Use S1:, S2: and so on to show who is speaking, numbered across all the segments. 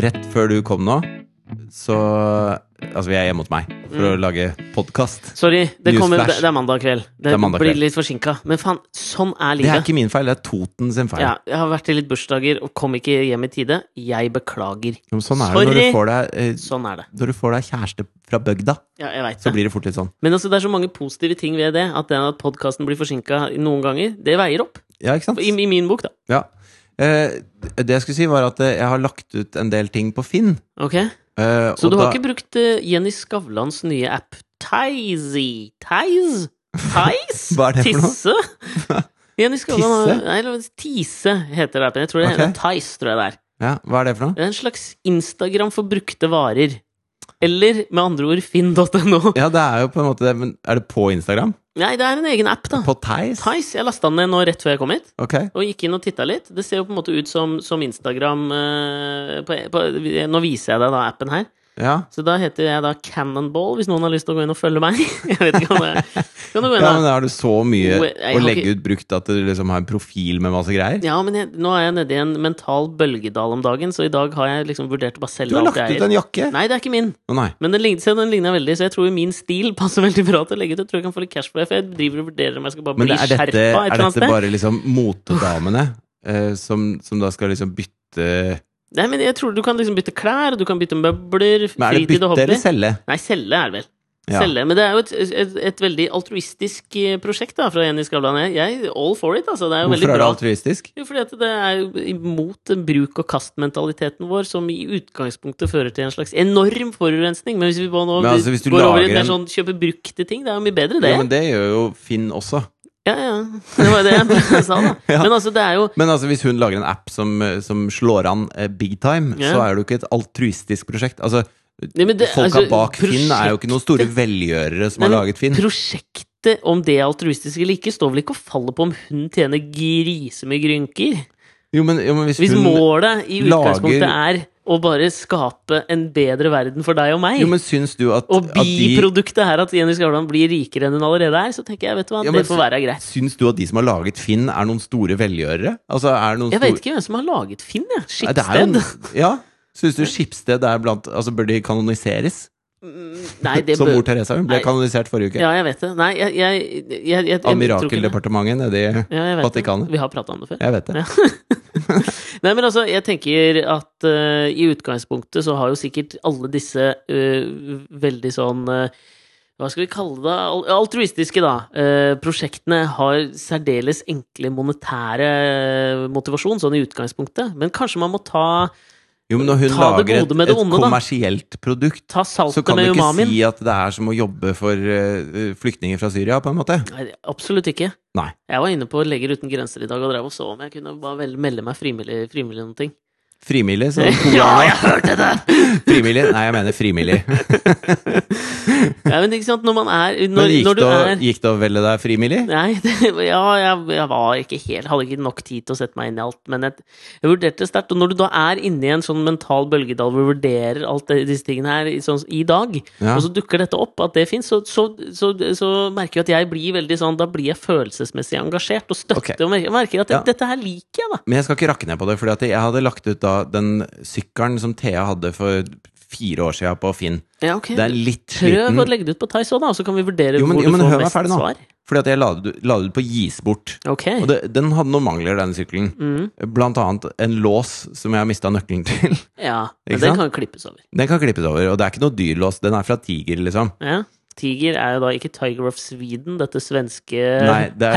S1: rett før du kom nå, så Altså, vi er hjemme hos meg for
S2: Mm.
S1: å lage podkast.
S2: Sorry, det, kommer, det,
S1: Newsflash.
S2: det er mandag kveld. Det,
S1: er mandag
S2: blir
S1: kveld.
S2: litt forsinka. Men faen, sånn er
S1: Det er
S2: livet.
S1: ikke min feil, det er Toten sin feil.
S2: ja, jeg har vært i litt bursdager og kom ikke hjem i tide. Jeg beklager.
S1: Men Sånn er det når
S2: Sorry.
S1: du, får deg, eh,
S2: Sånn er det.
S1: når du får deg kjæreste fra bygda.
S2: Ja, jeg vet
S1: Så
S2: det.
S1: blir det fort litt sånn.
S2: Men altså, det er så mange positive ting ved det. At, det at podkasten blir forsinka noen ganger, det veier opp.
S1: Ja, ikke sant?
S2: I, I min bok, da.
S1: Ja. Eh, det jeg skulle si, var at eh, jeg har lagt ut en del ting på Finn.
S2: Ok?
S1: eh,
S2: Så
S1: og
S2: du har
S1: da-
S2: ikke brukt eh, Jenny Skavlans nye app Tizy? Tiz? Tiz?
S1: Hva er det for noe?
S2: Tisse? Jenny Skavlan har-
S1: Tisse?
S2: Nei, eller Tise heter det appen. Jeg tror det
S1: Ok.
S2: heter Tice, tror jeg det er.
S1: ja, Hva er det for noe?
S2: Det er en slags Instagram for brukte varer. Eller med andre ord finn.no.
S1: Ja, det er jo på en måte det, men er det på Instagram?
S2: Nei, det er en egen app, da.
S1: På Theis?
S2: Tice. Jeg lasta den ned nå rett før jeg kom hit.
S1: Ok.
S2: Og gikk inn og titta litt. Det ser jo på en måte ut som, som Instagram eh, på, på, Nå viser jeg deg da appen her.
S1: Ja.
S2: Så da heter jeg da Cannonball, hvis noen har lyst til å gå inn og følge meg. Jeg vet ikke om det Kan du gå
S1: ja,
S2: inn
S1: men
S2: da?
S1: da har du så mye
S2: Jo, jeg- jeg
S1: å
S2: har
S1: legge
S2: ikke-
S1: ut brukt at du liksom har en profil med masse greier?
S2: Ja, men jeg, nå er jeg nede i en mental bølgedal om dagen, så i dag har jeg liksom vurdert å bare
S1: Du
S2: selge
S1: har
S2: alt
S1: lagt
S2: jeg
S1: ut
S2: eier.
S1: en jakke!
S2: Nei, det er ikke min,
S1: Å nei.
S2: men den ligner, se, den ligner veldig, så jeg tror min stil passer veldig bra til å legge ut. Jeg tror jeg kan få litt cash for det, for jeg driver og vurderer om jeg skal bare
S1: Men
S2: bli
S1: er
S2: skjerpa et
S1: dette, er
S2: eller annet
S1: dette
S2: sted.
S1: bare liksom motedamene eh, som, som da skal liksom bytte
S2: Nei, men jeg tror du kan liksom bytte klær, du kan bytte møbler,
S1: Men Er det
S2: fritid
S1: bytte
S2: og hobby.
S1: eller selge?
S2: Nei, selge er det vel.
S1: Ja.
S2: Selge. Men det er jo et, et, et veldig altruistisk eh, prosjekt da, fra Jenny Skavlan. Jeg- Jeg all for it, altså. Det er jo veldig
S1: Hvorfor er det
S2: bra.
S1: altruistisk?
S2: Jo, fordi at det er jo imot den bruk-og-kast-mentaliteten vår, som i utgangspunktet fører til en slags enorm forurensning. Men hvis vi bare nå
S1: Men altså, hvis du
S2: går over
S1: lager
S2: i en mer
S1: en-
S2: sånn kjøpe brukte ting, det er jo mye bedre, det.
S1: Ja, men det gjør jo Finn også.
S2: Ja, ja. Det var jo det jeg prøvde å sa, da.
S1: Ja.
S2: Men altså, det er jo
S1: Men altså, hvis hun lager en app som, eh, som slår an eh, big time,
S2: Ja.
S1: så er det jo ikke et altruistisk prosjekt. Altså,
S2: Nei, men det-
S1: Folka
S2: altså,
S1: bak Finn er jo ikke noen store
S2: prosjektet-
S1: velgjørere som har
S2: Nei, men
S1: laget Finn.
S2: Prosjektet om det altruistiske eller ikke står vel ikke og faller på om hun tjener grisemye grynker?
S1: Jo, men, jo, men hvis,
S2: Hvis
S1: hun,
S2: målet i
S1: lager-
S2: utgangspunktet er å bare skape en bedre verden for deg og meg,
S1: jo, men syns du at,
S2: Og
S1: at de
S2: biproduktet her at Jenny Skavlan blir rikere enn hun allerede er, så tenker jeg vet du hva,
S1: Ja, men
S2: det får være greit.
S1: Syns du at de som har laget Finn, er noen store velgjørere? Altså, er det noen
S2: Jeg vet
S1: store
S2: ikke hvem som har laget Finn, jeg.
S1: Nei, det er jo en-
S2: Skipsted?
S1: Ja. Syns du Skipsted er blant Altså, bør de kanoniseres?
S2: Nei, det
S1: Som mor
S2: bør
S1: Teresa. Hun ble
S2: Nei.
S1: kanonisert forrige uke.
S2: Ja, jeg vet det. Nei, jeg, jeg, jeg, jeg, jeg,
S1: Av
S2: tror ikke det.
S1: mirakeldepartementet nede i
S2: Ja, jeg vet
S1: Vatikanet.
S2: det. Vi har prata om det før.
S1: Jeg vet det.
S2: Ja. Nei, men altså, jeg tenker at eh, i utgangspunktet så har jo sikkert alle disse eh, veldig sånn eh, hva skal vi kalle det? Al- Altruistiske, da. eh, prosjektene har særdeles enkle monetære eh, motivasjon, sånn i utgangspunktet. Men kanskje man må ta,
S1: Jo, men når hun
S2: Ta det
S1: lager et,
S2: gode med det
S1: et
S2: onde, da.
S1: kommersielt produkt,
S2: ta
S1: så
S2: saltet
S1: kan du
S2: med
S1: ikke
S2: umamien.
S1: si at det er som å jobbe for eh, flyktninger fra Syria, på en måte.
S2: Nei, absolutt ikke.
S1: Nei.
S2: Jeg var inne på Leger uten grenser i dag og drev og så om jeg kunne bare vel, melde meg frivillig frivillig noen ting.
S1: Frimillig, så
S2: Ja, jeg hørte det!
S1: Frimillig? Nei, jeg mener frimillig.
S2: Ja, men ikke sant, når man er Når,
S1: Men gikk
S2: når du
S1: det å,
S2: er
S1: gikk det å velge deg frimillig?
S2: Nei, det, ja, jeg, jeg var ikke helt Hadde ikke nok tid til å sette meg inn i alt, men jeg, jeg vurderte det sterkt. Og når du da er inne i en sånn mental bølgedal hvor du vurderer alt det, disse tingene her i sånn, i dag,
S1: Ja.
S2: og så dukker dette opp, at det fins, så, så, så, så merker jeg at jeg blir veldig sånn Da blir jeg følelsesmessig engasjert og
S1: Ok.
S2: støtter og merker, jeg merker at
S1: Ja.
S2: dette her liker jeg, da.
S1: Men jeg skal ikke rakke ned på det, for jeg hadde lagt ut da den sykkelen som Thea hadde for fire år siden på Finn.
S2: Ja, ok.
S1: Det er litt
S2: Prøv å
S1: sliten.
S2: legge det ut på Thais òg, da, og så kan vi vurdere
S1: Jo, men,
S2: hvor
S1: jo, men
S2: du
S1: hør
S2: får
S1: meg
S2: mest
S1: ferdig nå.
S2: svar.
S1: Fordi at jeg la det ut- la det ut på gis bort.
S2: Ok.
S1: Og det, den hadde noen mangler, den sykkelen.
S2: Mm,
S1: Blant annet en lås som jeg har mista nøkkelen til.
S2: ja.
S1: Ikke
S2: Men den
S1: sant?
S2: kan klippes over.
S1: Den kan klippes over, og det er ikke noe dyr lås. Den er fra Tiger, liksom.
S2: Ja. Tiger er jo da ikke Tiger of Sweden, dette svenske
S1: Nei, det er-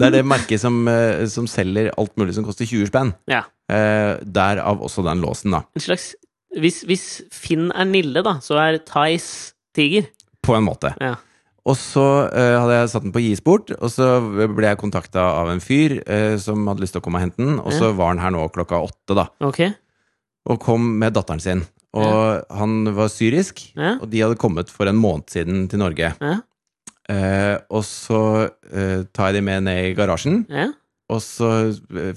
S1: Det er det merket som, eh, som selger alt mulig som koster 20 spenn.
S2: Ja.
S1: Eh, derav også den låsen, da.
S2: En slags hvis, hvis Finn er Nille, da, så er Thais Tiger.
S1: På en måte.
S2: Ja.
S1: Og så eh, hadde jeg satt den på gis bort, og så ble jeg kontakta av en fyr eh, som hadde lyst til å komme og hente den, og så var han her nå klokka åtte, da,
S2: Ok.
S1: og kom med datteren sin. Og han var syrisk,
S2: Ja.
S1: og de hadde kommet for en måned siden til Norge.
S2: Ja.
S1: Eh, og så eh, tar jeg de med ned i garasjen,
S2: Ja.
S1: og så eh,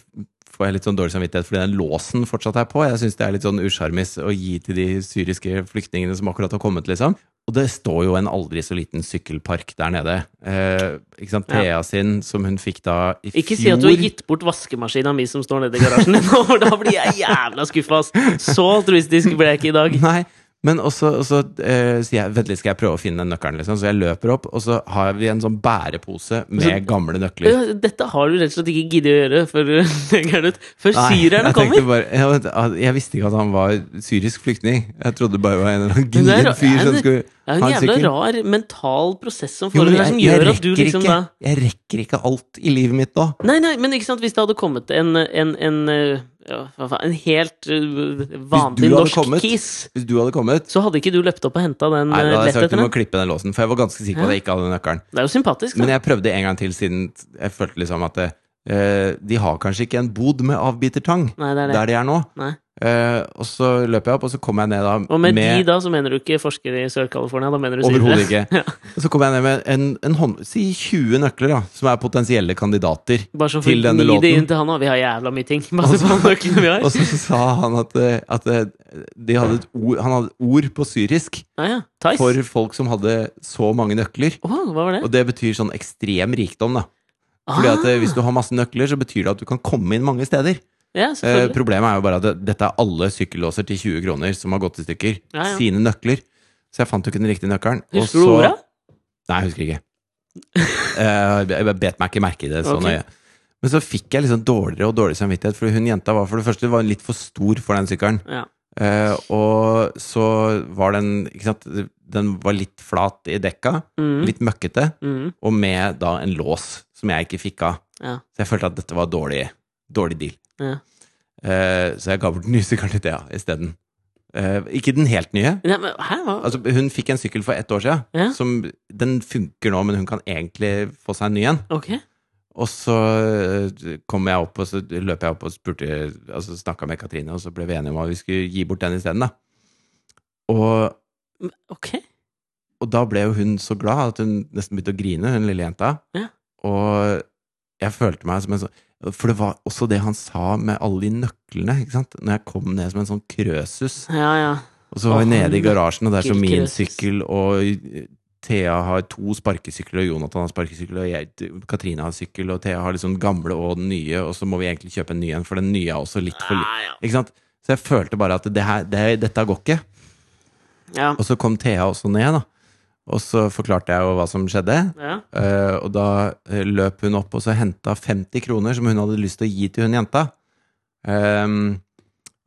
S1: får jeg litt sånn dårlig samvittighet fordi den låsen fortsatt er på. Jeg syns det er litt sånn usjarmis å gi til de syriske flyktningene som akkurat har kommet, liksom. Og det står jo en aldri så liten sykkelpark der nede. Eh, ikke sant? Thea
S2: Ja.
S1: sin, som hun fikk da i
S2: Ikke
S1: fjor
S2: si at du har gitt bort vaskemaskina mi som står nede i garasjen din, for da blir jeg jævla skuffa, ass. Så altruistisk ble jeg ikke i dag.
S1: Nei, men også, også eh, sier jeg Vent litt, skal jeg prøve å finne den nøkkelen? Liksom. Så jeg løper opp, og så har vi en sånn bærepose med
S2: Så- Øh,
S1: gamle nøkler.
S2: Ja, Dette har du rett og slett ikke giddet å gjøre før du legger den ut. Før
S1: Nei,
S2: syrerne
S1: jeg tenkte
S2: kommer.
S1: Bare, jeg, vet, at- jeg visste ikke at han var syrisk flyktning. Jeg trodde bare det var en eller annen
S2: Men det er
S1: gnien
S2: ra-
S1: fyr
S2: er
S1: som
S2: det-
S1: skulle
S2: Det er jo
S1: ha
S2: en
S1: en
S2: jævla
S1: sykkel.
S2: rar mental prosess som
S1: Jo, men
S2: foregår her, som gjør at du
S1: rekker
S2: liksom
S1: ikke,
S2: da
S1: jeg rekker ikke alt i livet mitt nå.
S2: Nei, nei, men ikke sant, hvis det hadde kommet en, en, en, eh, ja, hva faen, en helt eh, vanlig
S1: hadde
S2: norsk
S1: kommet-
S2: kis,
S1: Hvis du hadde kommet
S2: så hadde ikke du løpt opp og henta den
S1: Nei, da hadde jeg
S2: eh, lett
S1: sagt du
S2: etter
S1: må
S2: den.
S1: klippe den låsen, for jeg var ganske sikker på at jeg ikke hadde nøkkelen.
S2: Det er jo sympatisk,
S1: Men
S2: da.
S1: jeg prøvde en gang til, siden jeg følte liksom at eh, de har kanskje ikke en bod med avbitertang
S2: Nei, det er det.
S1: der de er nå.
S2: Nei.
S1: Eh, og så løper jeg opp, og så kommer jeg ned da
S2: Og med, de, da, så mener du ikke forskere i Sør-California? Da mener du
S1: Overhodet
S2: syrere.
S1: ikke. Og så kommer jeg ned med en, en hånd... Si 20 nøkler, da, som er potensielle kandidater.
S2: Bare sånn for
S1: Til
S2: å
S1: denne
S2: gni det
S1: låten.
S2: inn til han, og vi har jævla mye ting. Masse på nøklene vi har.
S1: Og så sa han at, eh, at eh, de hadde et ord, han hadde et ord på syrisk
S2: Ja, ja. Tice.
S1: for folk som hadde så mange nøkler.
S2: Åh, hva var det? Ah,
S1: Og det betyr sånn ekstrem rikdom, da. Fordi at eh, Hvis du har masse nøkler, så betyr det at du kan komme inn mange steder.
S2: Ja,
S1: Eh,
S2: selvfølgelig.
S1: problemet er jo bare at det, dette er alle sykkellåser til 20 kroner som har gått i stykker.
S2: Ja, ja.
S1: Sine nøkler. Så jeg fant jo ikke den riktige nøkkelen. og
S2: Husker du
S1: så-
S2: ordet?
S1: Nei, jeg husker ikke. Eh, jeg jeg bet meg ikke merke i det så
S2: Ok.
S1: nøye. Men så fikk jeg liksom dårligere og dårligere samvittighet, for hun jenta var for det første var litt for stor for den sykkelen.
S2: Ja.
S1: Eh, og så var den ikke sant, Den var litt flat i dekka,
S2: Mm,
S1: litt møkkete,
S2: mm,
S1: og med da en lås som jeg ikke fikk av.
S2: ja.
S1: Så jeg følte at dette var dårlig, dårlig deal.
S2: Ja.
S1: Eh, så jeg ga bort den nye sykkelen til Thea isteden. Eh, ikke den helt nye.
S2: Nei, men hæ, hva?
S1: Altså, hun fikk en sykkel for ett år siden.
S2: Ja.
S1: Som, den funker nå, men hun kan egentlig få seg en ny en.
S2: Ok.
S1: Og så eh, kom jeg opp, og så løp jeg opp og spurte Altså snakka med Katrine, og så ble vi enige om at vi skulle gi bort den isteden, da. Og,
S2: Ok.
S1: og da ble jo hun så glad at hun nesten begynte å grine, hun lille jenta.
S2: Ja.
S1: Og jeg følte meg som en sånn For det var også det han sa med alle de nøklene, ikke sant. Når jeg kom ned som en sånn krøsus.
S2: Ja, ja.
S1: Og så var vi
S2: Åh,
S1: nede i garasjen, og der står min
S2: nøkkelkrøsus.
S1: sykkel, og Thea har to sparkesykler, og Jonathan har sparkesykkel, og jeg, Katrine har sykkel, og Thea har liksom gamle og den nye, og så må vi egentlig kjøpe en ny en, for den nye er også litt for liten.
S2: Ja, ja.
S1: Ikke sant? Så jeg følte bare at det her, det, dette går ikke.
S2: ja.
S1: Og så kom Thea også ned, da. Og så forklarte jeg jo hva som skjedde,
S2: ja.
S1: eh, og da eh, løp hun opp og så henta 50 kroner som hun hadde lyst til å gi til hun jenta. Ehm,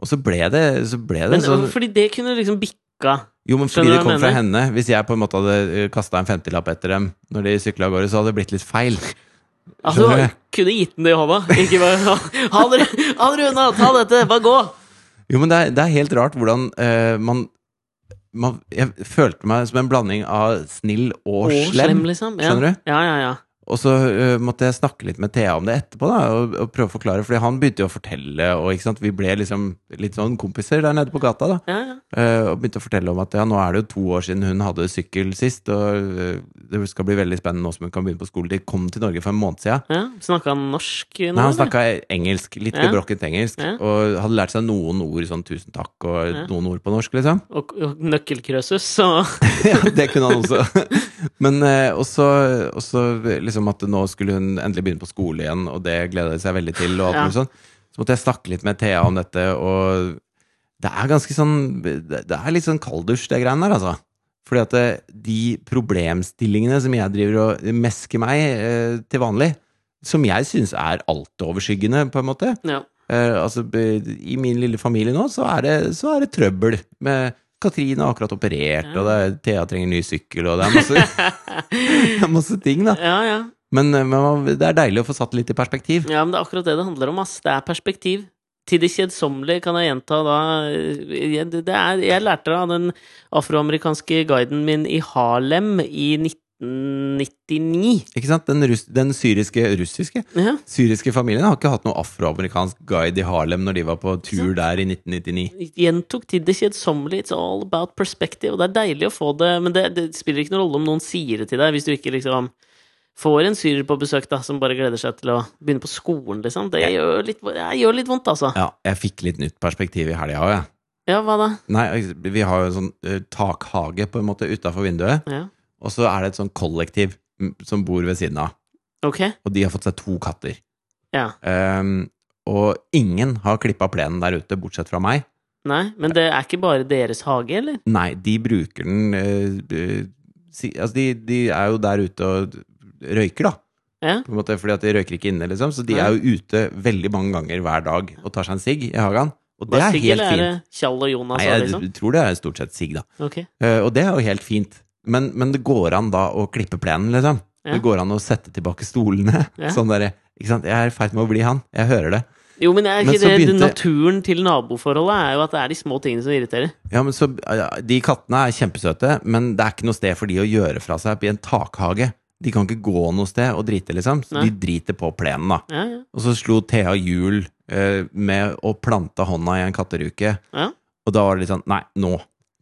S1: og så ble det, så ble det
S2: Men
S1: sånn
S2: fordi det kunne liksom bikka.
S1: Jo, men fordi
S2: Skjønner
S1: det
S2: du hva
S1: kom
S2: jeg
S1: fra henne. Hvis jeg på en måte hadde kasta en 50-lapp etter dem når de sykla av gårde, så hadde det blitt litt feil.
S2: Altså,
S1: Skjønner jeg.
S2: kunne gitt den det i hånda. Ikke bare Ha ha dere ha dere unna! Ta dette! Bare gå!
S1: Jo, men det er, det er helt rart hvordan eh, man, man Jeg følte meg som en blanding av snill og,
S2: Å,
S1: slem.
S2: liksom. Ja.
S1: Skjønner du?
S2: Ja, ja, ja.
S1: Og så eh, måtte jeg snakke litt med Thea om det etterpå, da, og, og prøve å forklare, fordi han begynte jo å fortelle, og ikke sant? vi ble liksom litt sånn kompiser der nede på gata, da.
S2: ja, ja.
S1: Eh, og begynte å fortelle om at ja, nå er det jo to år siden hun hadde sykkel sist, og eh, det skal bli veldig spennende nå som hun kan begynne på skole. De kom til Norge for en måned siden.
S2: ja. Snakka han norsk nå?
S1: Nei, han
S2: eller?
S1: snakka engelsk, litt
S2: Ja.
S1: gebrokket engelsk,
S2: Ja.
S1: og hadde lært seg noen ord, sånn tusen takk, og
S2: Ja.
S1: noen ord på norsk, liksom.
S2: Og, og nøkkelkrøsus, så
S1: Ja, det kunne han også. Men eh, også, også liksom at nå skulle hun endelig begynne på skole igjen, og det gleda de seg veldig til, og alt
S2: Ja.
S1: mulig sånn. Så måtte jeg snakke litt med Thea om dette, og det er ganske sånn Det det er litt sånn kalddusj, det greiene der, altså. Fordi at eh, de problemstillingene som jeg driver og mesker meg eh, til vanlig, som jeg syns er altoverskyggende, på en måte,
S2: Ja.
S1: Eh, altså, be- I min lille familie nå, så er det, så er det trøbbel. Med Katrine har akkurat operert, og det er, Thea trenger ny sykkel, og det er masse, det er masse ting, da.
S2: ja, ja.
S1: Men, eh, men man- det er deilig å få satt det litt i perspektiv.
S2: Ja, men det er akkurat det det handler om, ass. Det er perspektiv. Til det kjedsommelige kan jeg gjenta da eh, det det er, Jeg lærte det av den afroamerikanske guiden min i Harlem i 1999.
S1: Ikke sant? Den, russ, den syriske, russiske
S2: Ja,
S1: syriske familien har ikke hatt noen afroamerikansk guide i Harlem når de var på tur der i 1999.
S2: Gjentok til det kjedsommelige. It's all about perspective. Og det er deilig å få det, men det, det spiller ikke noen rolle om noen sier det til deg, hvis du ikke liksom får en syrer på besøk da, som bare gleder seg til å begynne på skolen, liksom. Det gjør litt, det gjør litt vondt, altså.
S1: Ja, jeg fikk litt nytt perspektiv i helga òg, jeg.
S2: Ja, hva da?
S1: Nei, vi har jo en sånn eh, takhage på en måte utafor vinduet,
S2: Ja.
S1: og så er det et sånn kollektiv mm, som bor ved siden av,
S2: Ok.
S1: og de har fått seg to katter.
S2: Ja.
S1: Ehm, og ingen har klippa plenen der ute, bortsett fra meg.
S2: Nei, men det er ikke bare deres hage, eller?
S1: Nei, de bruker den eh, eh, si, Altså, de, de er jo der ute og røyker, da.
S2: Ja.
S1: På en måte, fordi at de røyker ikke inne, liksom. Så de
S2: Nei.
S1: er jo ute veldig mange ganger hver dag og tar seg en sigg i hagen. Og det
S2: Bare
S1: er
S2: Sigg,
S1: helt
S2: eller er det
S1: fint.
S2: Kjall og Jonas,
S1: Nei,
S2: da,
S1: jeg
S2: liksom?
S1: tror det er stort sett sigg, da.
S2: Ok.
S1: Eh, og det er jo helt fint. Men, men det går an da å klippe plenen, liksom.
S2: Ja.
S1: Det går an å sette tilbake stolene.
S2: Ja.
S1: Sånn derre Ikke sant. Jeg er i ferd med å bli han. Jeg hører det.
S2: Jo, men er
S1: Men
S2: ikke
S1: så
S2: det,
S1: begynte-
S2: naturen til naboforholdet er jo at det er de små tingene som irriterer.
S1: Ja, men så, ja, De kattene er kjempesøte, men det er ikke noe sted for de å gjøre fra seg i en takhage. De kan ikke gå noe sted og drite, liksom. Så
S2: Nei.
S1: de driter på plenen, da.
S2: Ja, ja.
S1: Og så slo Thea hjul eh, med å plante hånda i en katteruke.
S2: Ja.
S1: Og da var det litt sånn Nei, nå.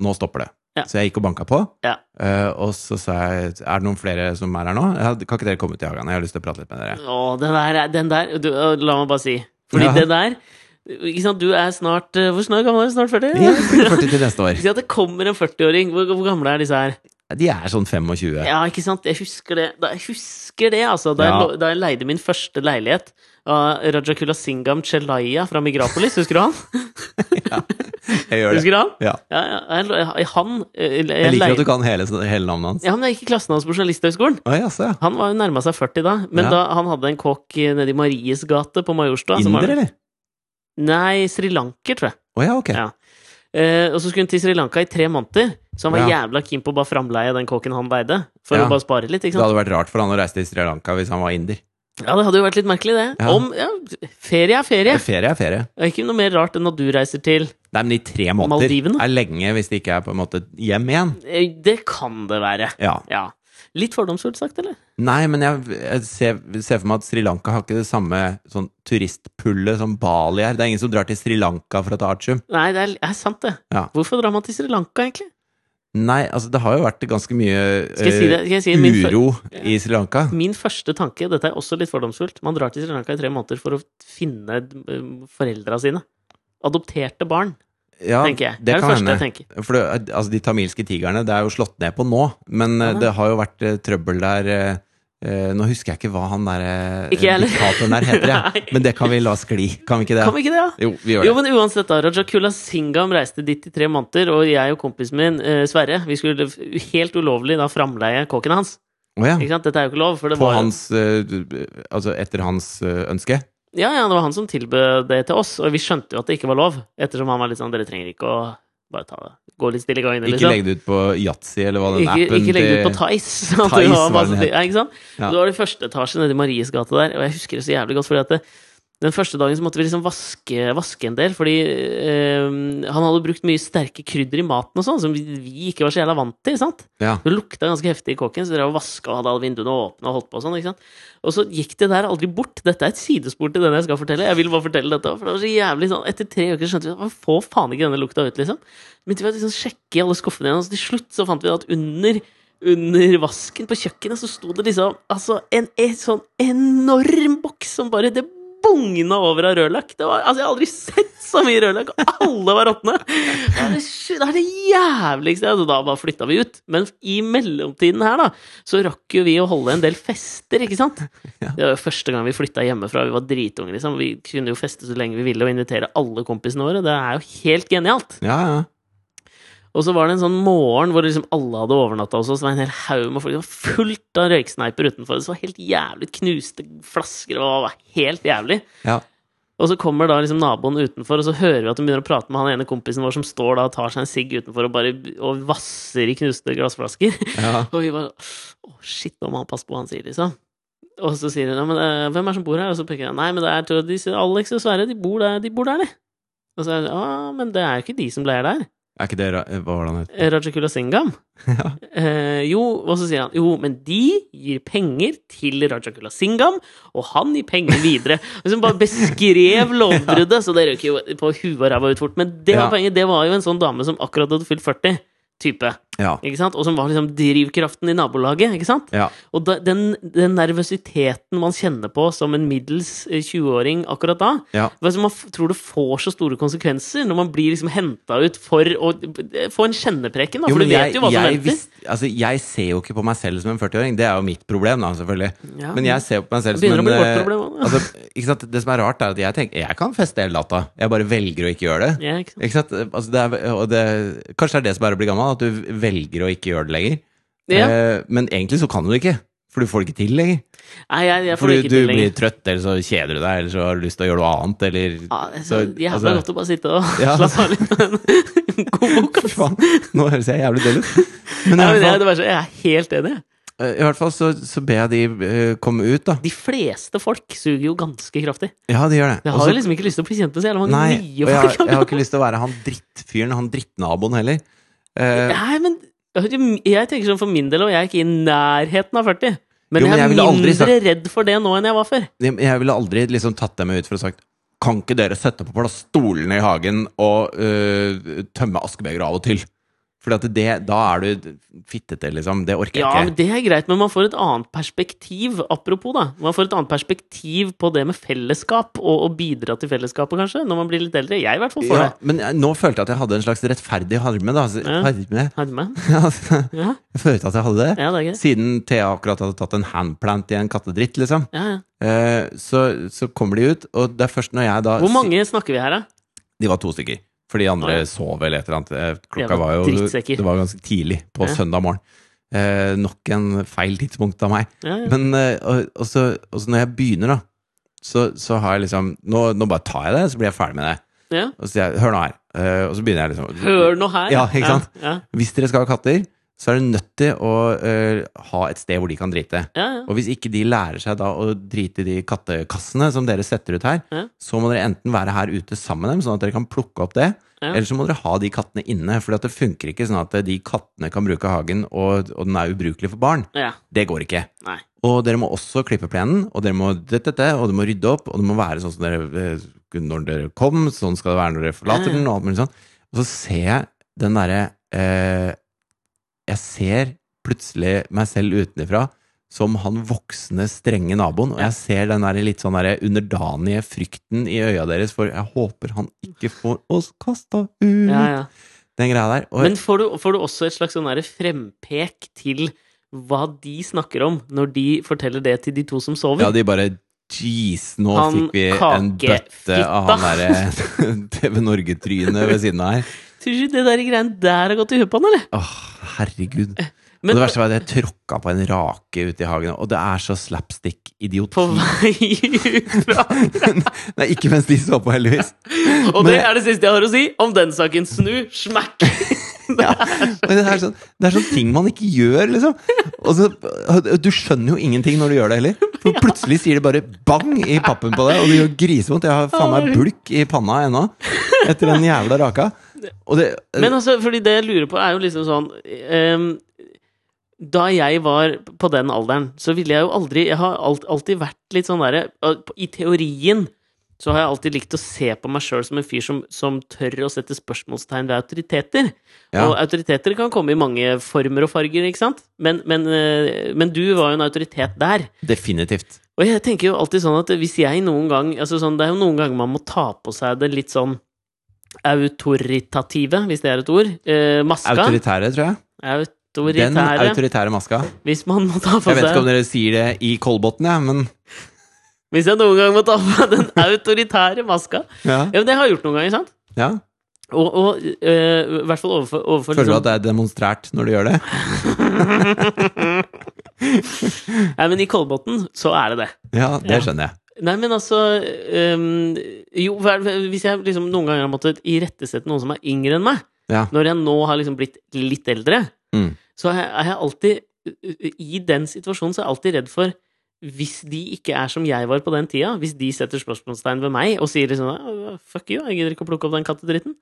S1: Nå stopper det.
S2: Ja.
S1: Så jeg gikk og banka på.
S2: Ja.
S1: eh, og så sa jeg Er det noen flere som er her nå? Ja, kan ikke dere komme ut i hagen? Jeg har lyst til å prate litt med dere.
S2: Å, den der, er- den der du, å, La meg bare si. Fordi
S1: Ja.
S2: det der ikke sant, Du er snart eh, Hvor snart gammel er du? Snart 40?
S1: Ja, jeg blir 40 til neste år.
S2: Ikke sant, det kommer en 40-åring. Hvor, hvor gamle er disse her?
S1: De er sånn 25.
S2: Ja, ikke sant? Jeg husker det. Da, jeg husker det, altså. Da,
S1: Ja.
S2: jeg, lo- da jeg leide min første leilighet av Rajakula Singam Chelaya fra Migrapolis, husker du han?
S1: Jeg gjør det.
S2: Husker du han?
S1: Ja.
S2: Ja, ja, jeg, lo- han eh,
S1: Jeg
S2: jeg,
S1: liker
S2: leide-
S1: at du kan hele, hele navnet hans.
S2: Ja, men jeg gikk i klassen hans på Journalisthøgskolen.
S1: Å, jaså, ja.
S2: Han var jo nærma seg 40 da, men
S1: Ja.
S2: da han hadde en kokk eh, nede i Maries gate på Majorstua som var-
S1: Inder, eller?
S2: Nei, srilanker, tror jeg.
S1: Å ja, ok.
S2: Ja. Eh, og så skulle hun til Sri Lanka i tre måneder, så han var
S1: Ja.
S2: jævla keen på å bare framleie den kåken han leide, for
S1: Ja.
S2: å bare spare litt,
S1: Det
S2: ikke sant.
S1: hadde vært rart for han å reise til Sri Lanka hvis han var inder.
S2: Ja, det hadde jo vært litt merkelig, det.
S1: Ja.
S2: Om ja, Ferie er ferie.
S1: Ferie er ferie.
S2: Det er ikke noe mer rart enn at du reiser til
S1: Nei, men i tre måneder
S2: Maldivene?
S1: er lenge hvis det ikke er på en måte hjem igjen.
S2: Eh, Det kan det være.
S1: Ja.
S2: Ja. Litt fordomsfullt sagt, eller?
S1: Nei, men jeg, jeg ser, ser for meg at Sri Lanka har ikke det samme sånn turistpullet som Bali er. Det er ingen som drar til Sri Lanka for å ta artium.
S2: Nei, det er, er sant, det.
S1: Ja.
S2: Hvorfor drar man til Sri Lanka, egentlig?
S1: Nei, altså det har jo vært ganske mye
S2: Skal jeg si det? Skal jeg si
S1: eh,
S2: min, fø-
S1: uro i Sri Lanka.
S2: min første tanke Dette er også litt fordomsfullt. Man drar til Sri Lanka i tre måneder for å finne eh, foreldra sine. Adopterte barn,
S1: Ja,
S2: tenker jeg. Det,
S1: det
S2: er det
S1: kan
S2: første
S1: hende.
S2: jeg tenker.
S1: For det, altså, de tamilske tigrene, det er jo slått ned på nå, men eh,
S2: Ja.
S1: det har jo vært eh, trøbbel der eh, eh, Nå husker jeg ikke hva han der eh,
S2: Ikke jeg heller.
S1: diktatoren der heter,
S2: Nei.
S1: jeg. men det kan vi la skli, kan vi ikke det?
S2: Kan vi ikke det, da?
S1: Jo, vi gjør
S2: Jo,
S1: det.
S2: men uansett, da. Rajakula Singam reiste dit i tre måneder, og jeg og kompisen min, eh, Sverre, vi skulle helt ulovlig da framleie kåken hans.
S1: Å ja.
S2: Ikke sant? Dette er jo ikke lov. For det
S1: På
S2: var,
S1: hans eh, du- Altså etter hans eh, ønske?
S2: Ja, ja, det var han som tilbød det til oss, og vi skjønte jo at det ikke var lov, ettersom han var litt sånn Dere trenger ikke å bare ta det. Gå litt stille i gangen, liksom.
S1: Ikke legg det ut på Yatzy eller hva den
S2: Ikke,
S1: appen
S2: ikke legg det
S1: til-
S2: ut på Tice. at
S1: Tice
S2: det var
S1: var
S2: masse-
S1: den het.
S2: ja, ikke sant?
S1: Ja.
S2: Det var det første etasje nede i Maries gate der, og jeg husker det så jævlig godt. fordi at det, den første dagen så måtte vi liksom vaske, vaske en del, fordi eh, han hadde brukt mye sterke krydder i maten og sånn, som vi, vi ikke var så jævla vant til. sant?
S1: Ja.
S2: Det lukta ganske heftig i kåken, så dere vaska og hadde alle vinduene åpne. Og holdt på og sånn, ikke sant? Og så gikk det der aldri bort. Dette er et sidespor til den jeg skal fortelle. Jeg vil bare fortelle dette, for det var så jævlig sånn, Etter tre uker skjønte vi at man får faen ikke denne lukta ut, liksom. Men vi å liksom sjekke i alle skuffene igjen, og så til slutt så fant vi at under under vasken på kjøkkenet så sto det liksom altså en, en sånn enorm boks som bare det bugna over av rødløk. Det var, altså, jeg har aldri sett så mye rødløk, og alle var råtne! Det er det sj- det er det jævligste! Altså, da bare flytta vi ut. Men i mellomtiden her, da, så rakk jo vi å holde en del fester, ikke sant? Det var jo første gang vi flytta hjemmefra, vi var dritunge, liksom. Vi kunne jo feste så lenge vi ville, og invitere alle kompisene våre. Det er jo helt genialt!
S1: ja, ja.
S2: Og så var det en sånn morgen hvor liksom alle hadde overnatta hos oss. Det var en hel haug med folk. Det var fullt av røyksneiper utenfor. Det var helt jævlig knuste flasker. Og det var helt jævlig.
S1: Ja.
S2: Og så kommer da liksom naboen utenfor, og så hører vi at hun begynner å prate med han ene kompisen vår som står da og tar seg en sigg utenfor og bare og vasser i knuste glassflasker.
S1: ja.
S2: Og vi bare Å, shit, nå må han passe på hva han sier, liksom. Og så sier hun ja, men eh, hvem er det som bor her? Og så peker jeg nei, men det er tror jeg de, sier, Alex og Sverre, de bor der, de. Bor der, de. Og så er det ja, men det er jo ikke de som leier der.
S1: Er ikke det ra- eh, Hva var det han het?
S2: Rajakula Singam.
S1: Ja.
S2: Eh, jo, og så sier han jo, men de gir penger til Rajakula Singam, og han gir penger videre. Og så bare beskrev lovbruddet, så det røk jo på huet og ræva ut fort. Men det
S1: Ja.
S2: var poenget, det var jo en sånn dame som akkurat hadde fylt 40. Type.
S1: Ja.
S2: ikke sant? og som var liksom drivkraften i nabolaget. ikke sant?
S1: ja.
S2: Og da, den, den nervøsiteten man kjenner på som en middels eh, 20-åring akkurat da,
S1: Ja.
S2: hva som man f- tror det får så store konsekvenser når man blir liksom henta ut for å eh, få en kjennepreken. Da,
S1: Jo,
S2: for
S1: men
S2: du vet jo hva som
S1: jeg,
S2: venter.
S1: visst- altså, jeg ser jo ikke på meg selv som en 40-åring. Det er jo mitt problem, da, selvfølgelig.
S2: Ja.
S1: Men jeg ser på meg selv
S2: Det begynner
S1: som en
S2: å bli vårt
S1: eh,
S2: problem også.
S1: altså, ikke sant? Det som er rart, er at jeg tenker jeg kan feste hele natta. Jeg bare velger å ikke gjøre det.
S2: Ja, ikke sant?
S1: Ikke sant? Altså, det er, og det, kanskje det er det som er å bli gammel, at du velger å ikke gjøre det lenger.
S2: Ja.
S1: Eh, men egentlig så kan du det ikke. For du får det ikke til lenger.
S2: Nei, jeg, jeg får
S1: Fordi
S2: det ikke
S1: du
S2: til
S1: blir
S2: lenger.
S1: trøtt, eller så kjeder du deg, eller så har du lyst til å gjøre noe annet, eller
S2: Ja, altså,
S1: så-
S2: jævla
S1: altså-
S2: godt å bare sitte og
S1: Ja.
S2: slappe av litt med en god bok.
S1: Fy faen, nå høres jeg jævlig døll ut. Men i
S2: Nei, men
S1: hvert
S2: jeg,
S1: fall,
S2: det var så, jeg er helt enig.
S1: eh, i hvert fall så, så ber jeg de eh, komme ut, da.
S2: De fleste folk suger jo ganske kraftig.
S1: Ja, de gjør det.
S2: Jeg
S1: Og
S2: har
S1: så-
S2: jo liksom ikke lyst til å bli kjent med så jævla mange
S1: Altså- Nei, og
S2: nye
S1: jeg,
S2: folk.
S1: har- jeg har ikke lyst til å være han drittfyren, han drittnaboen heller. Eh,
S2: Nei, men jeg tenker sånn for min del, og jeg er ikke i nærheten av 40. Men
S1: Jo, men
S2: jeg
S1: jeg
S2: er
S1: ville aldri
S2: mindre
S1: sagt-
S2: redd for det nå enn jeg var før.
S1: jeg jeg ville aldri liksom tatt dem ut for å sagt Kan ikke dere sette på plass stolene i hagen og eh, tømme askebegeret av og til? For at det, da er du fittete, liksom. Det orker jeg
S2: Ja,
S1: ikke.
S2: men Det er greit, men man får et annet perspektiv. Apropos, da. Man får et annet perspektiv på det med fellesskap, og å bidra til fellesskapet, kanskje, når man blir litt eldre. Jeg i hvert fall får
S1: ja,
S2: det.
S1: men jeg, nå følte jeg at jeg hadde en slags rettferdig harme. Da. Altså,
S2: Ja.
S1: harme.
S2: Har du med?
S1: Altså,
S2: Ja,
S1: jeg følte at jeg hadde det.
S2: ja, det er greit.
S1: Siden Thea akkurat hadde tatt en handplant i en kattedritt, liksom.
S2: Ja, ja.
S1: Eh, så, så kommer de ut, og det er først når jeg da
S2: Hvor mange snakker vi her, da?
S1: De var to stykker. For de andre
S2: Å, ja.
S1: sov eller et eller annet. Eh, Klokka
S2: Jævla
S1: var jo
S2: drittsekker.
S1: Det var ganske tidlig på
S2: Ja.
S1: søndag morgen. Eh, nok en feil tidspunkt av meg.
S2: Ja, ja.
S1: Men eh, og, og, så, og så når jeg begynner, da, så, så har jeg liksom nå, nå bare tar jeg det, så blir jeg ferdig med det.
S2: ja.
S1: Og så sier jeg 'hør nå her'. Eh, og så begynner jeg liksom
S2: Hør nå her.
S1: Ja, ikke sant?
S2: Ja,
S1: Hvis dere skal ha katter, så er dere nødt til å eh, ha et sted hvor de kan drite.
S2: ja, ja.
S1: Og hvis ikke de lærer seg da å drite i de kattekassene som dere setter ut her,
S2: Ja.
S1: så må dere enten være her ute sammen med dem, sånn at dere kan plukke opp det,
S2: Ja.
S1: eller så må dere ha de kattene inne, for det funker ikke sånn at de kattene kan bruke hagen, og, og den er ubrukelig for barn.
S2: ja. ja.
S1: Det går ikke.
S2: Nei.
S1: Og dere må også klippe plenen, og dere må dette, dette, og dere må rydde opp, og det må være sånn som dere eh, når dere kom, sånn skal det være når dere forlater
S2: Ja, ja.
S1: den, og alt mulig sånn. Og så ser jeg den derre eh, Jeg ser plutselig meg selv utenfra som han voksne, strenge naboen, og
S2: Ja.
S1: jeg ser den der litt sånn derre underdanige frykten i øya deres, for jeg håper han ikke får oss kasta ut,
S2: Ja, ja.
S1: den greia der. Mhm. Og
S2: Men får du, får du også et slags sånn derre frempek til hva de snakker om, når de forteller det til de to som sover?
S1: Ja, de bare Jeez, nå
S2: Han
S1: fikk vi en bøtte av
S2: kakefitta.
S1: han derre TV Norge-trynet ved siden av her.
S2: Tror du ikke det der greiene der har gått i huet på han, eller?
S1: Åh, herregud. og
S2: Men
S1: det verste var at jeg tråkka på en rake ute i hagen, og det er så slapstick-idioti.
S2: på vei ut fra
S1: Nei, ikke mens de så på, heldigvis.
S2: Og
S1: Men-
S2: det er det siste jeg har å si om den saken. Snu, smakk!
S1: Men det er sånn, det er sånn ting man ikke gjør, liksom. Og så, du skjønner jo ingenting når du gjør det heller. For plutselig sier det bare bang i pappen på deg, og det gjør grisevondt. Jeg har faen meg bulk i panna ennå etter den jævla raka. Og det,
S2: Men altså, fordi det jeg lurer på, er jo liksom sånn ehm, Da jeg var på den alderen, så ville jeg jo aldri Jeg har alt, alltid vært litt sånn derre I teorien så har jeg alltid likt å se på meg sjøl som en fyr som, som tør å sette spørsmålstegn ved autoriteter.
S1: Ja.
S2: Og autoriteter kan komme i mange former og farger, ikke sant? Men, men, eh, men du var jo en autoritet der.
S1: definitivt.
S2: Og jeg tenker jo alltid sånn at hvis jeg noen gang altså sånn, Det er jo noen ganger man må ta på seg det litt sånn autoritative, hvis det er et ord. Eh, maska.
S1: Autoritære, tror jeg. Den
S2: Autoritære.
S1: autoritære maska.
S2: hvis man må ta på
S1: Jeg vet ikke om
S2: seg
S1: dere sier det i Kolbotn, jeg, men
S2: Hvis jeg noen gang må ta på meg den autoritære maska.
S1: ja.
S2: Ja, men det har jeg gjort noen ganger, sant?
S1: ja.
S2: Og, og eh, i hvert fall overfor, overfor
S1: Føler du
S2: liksom-
S1: at det er demonstrært når du gjør det?
S2: Nei, men i Kolbotn så er det det.
S1: Ja,
S2: Ja.
S1: det skjønner jeg.
S2: Nei, men altså øhm, Jo, hva- hvis jeg liksom noen ganger har måttet irettesette noen som er yngre enn meg,
S1: Ja.
S2: når jeg nå har liksom blitt litt eldre,
S1: Mm.
S2: så er jeg- er jeg alltid ø- ø- I den situasjonen så er jeg alltid redd for hvis de ikke er som jeg var på den tida, hvis de setter spørsmålstegn ved meg og sier liksom «Ah, Fuck you, jeg gidder ikke å plukke opp den kattedritten.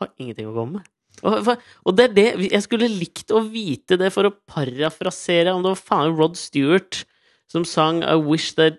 S2: Har ingenting å komme med. Og, for- og det er det Jeg skulle likt å vite det for å parafrasere om det var faen Rod Stewart som sang I wish that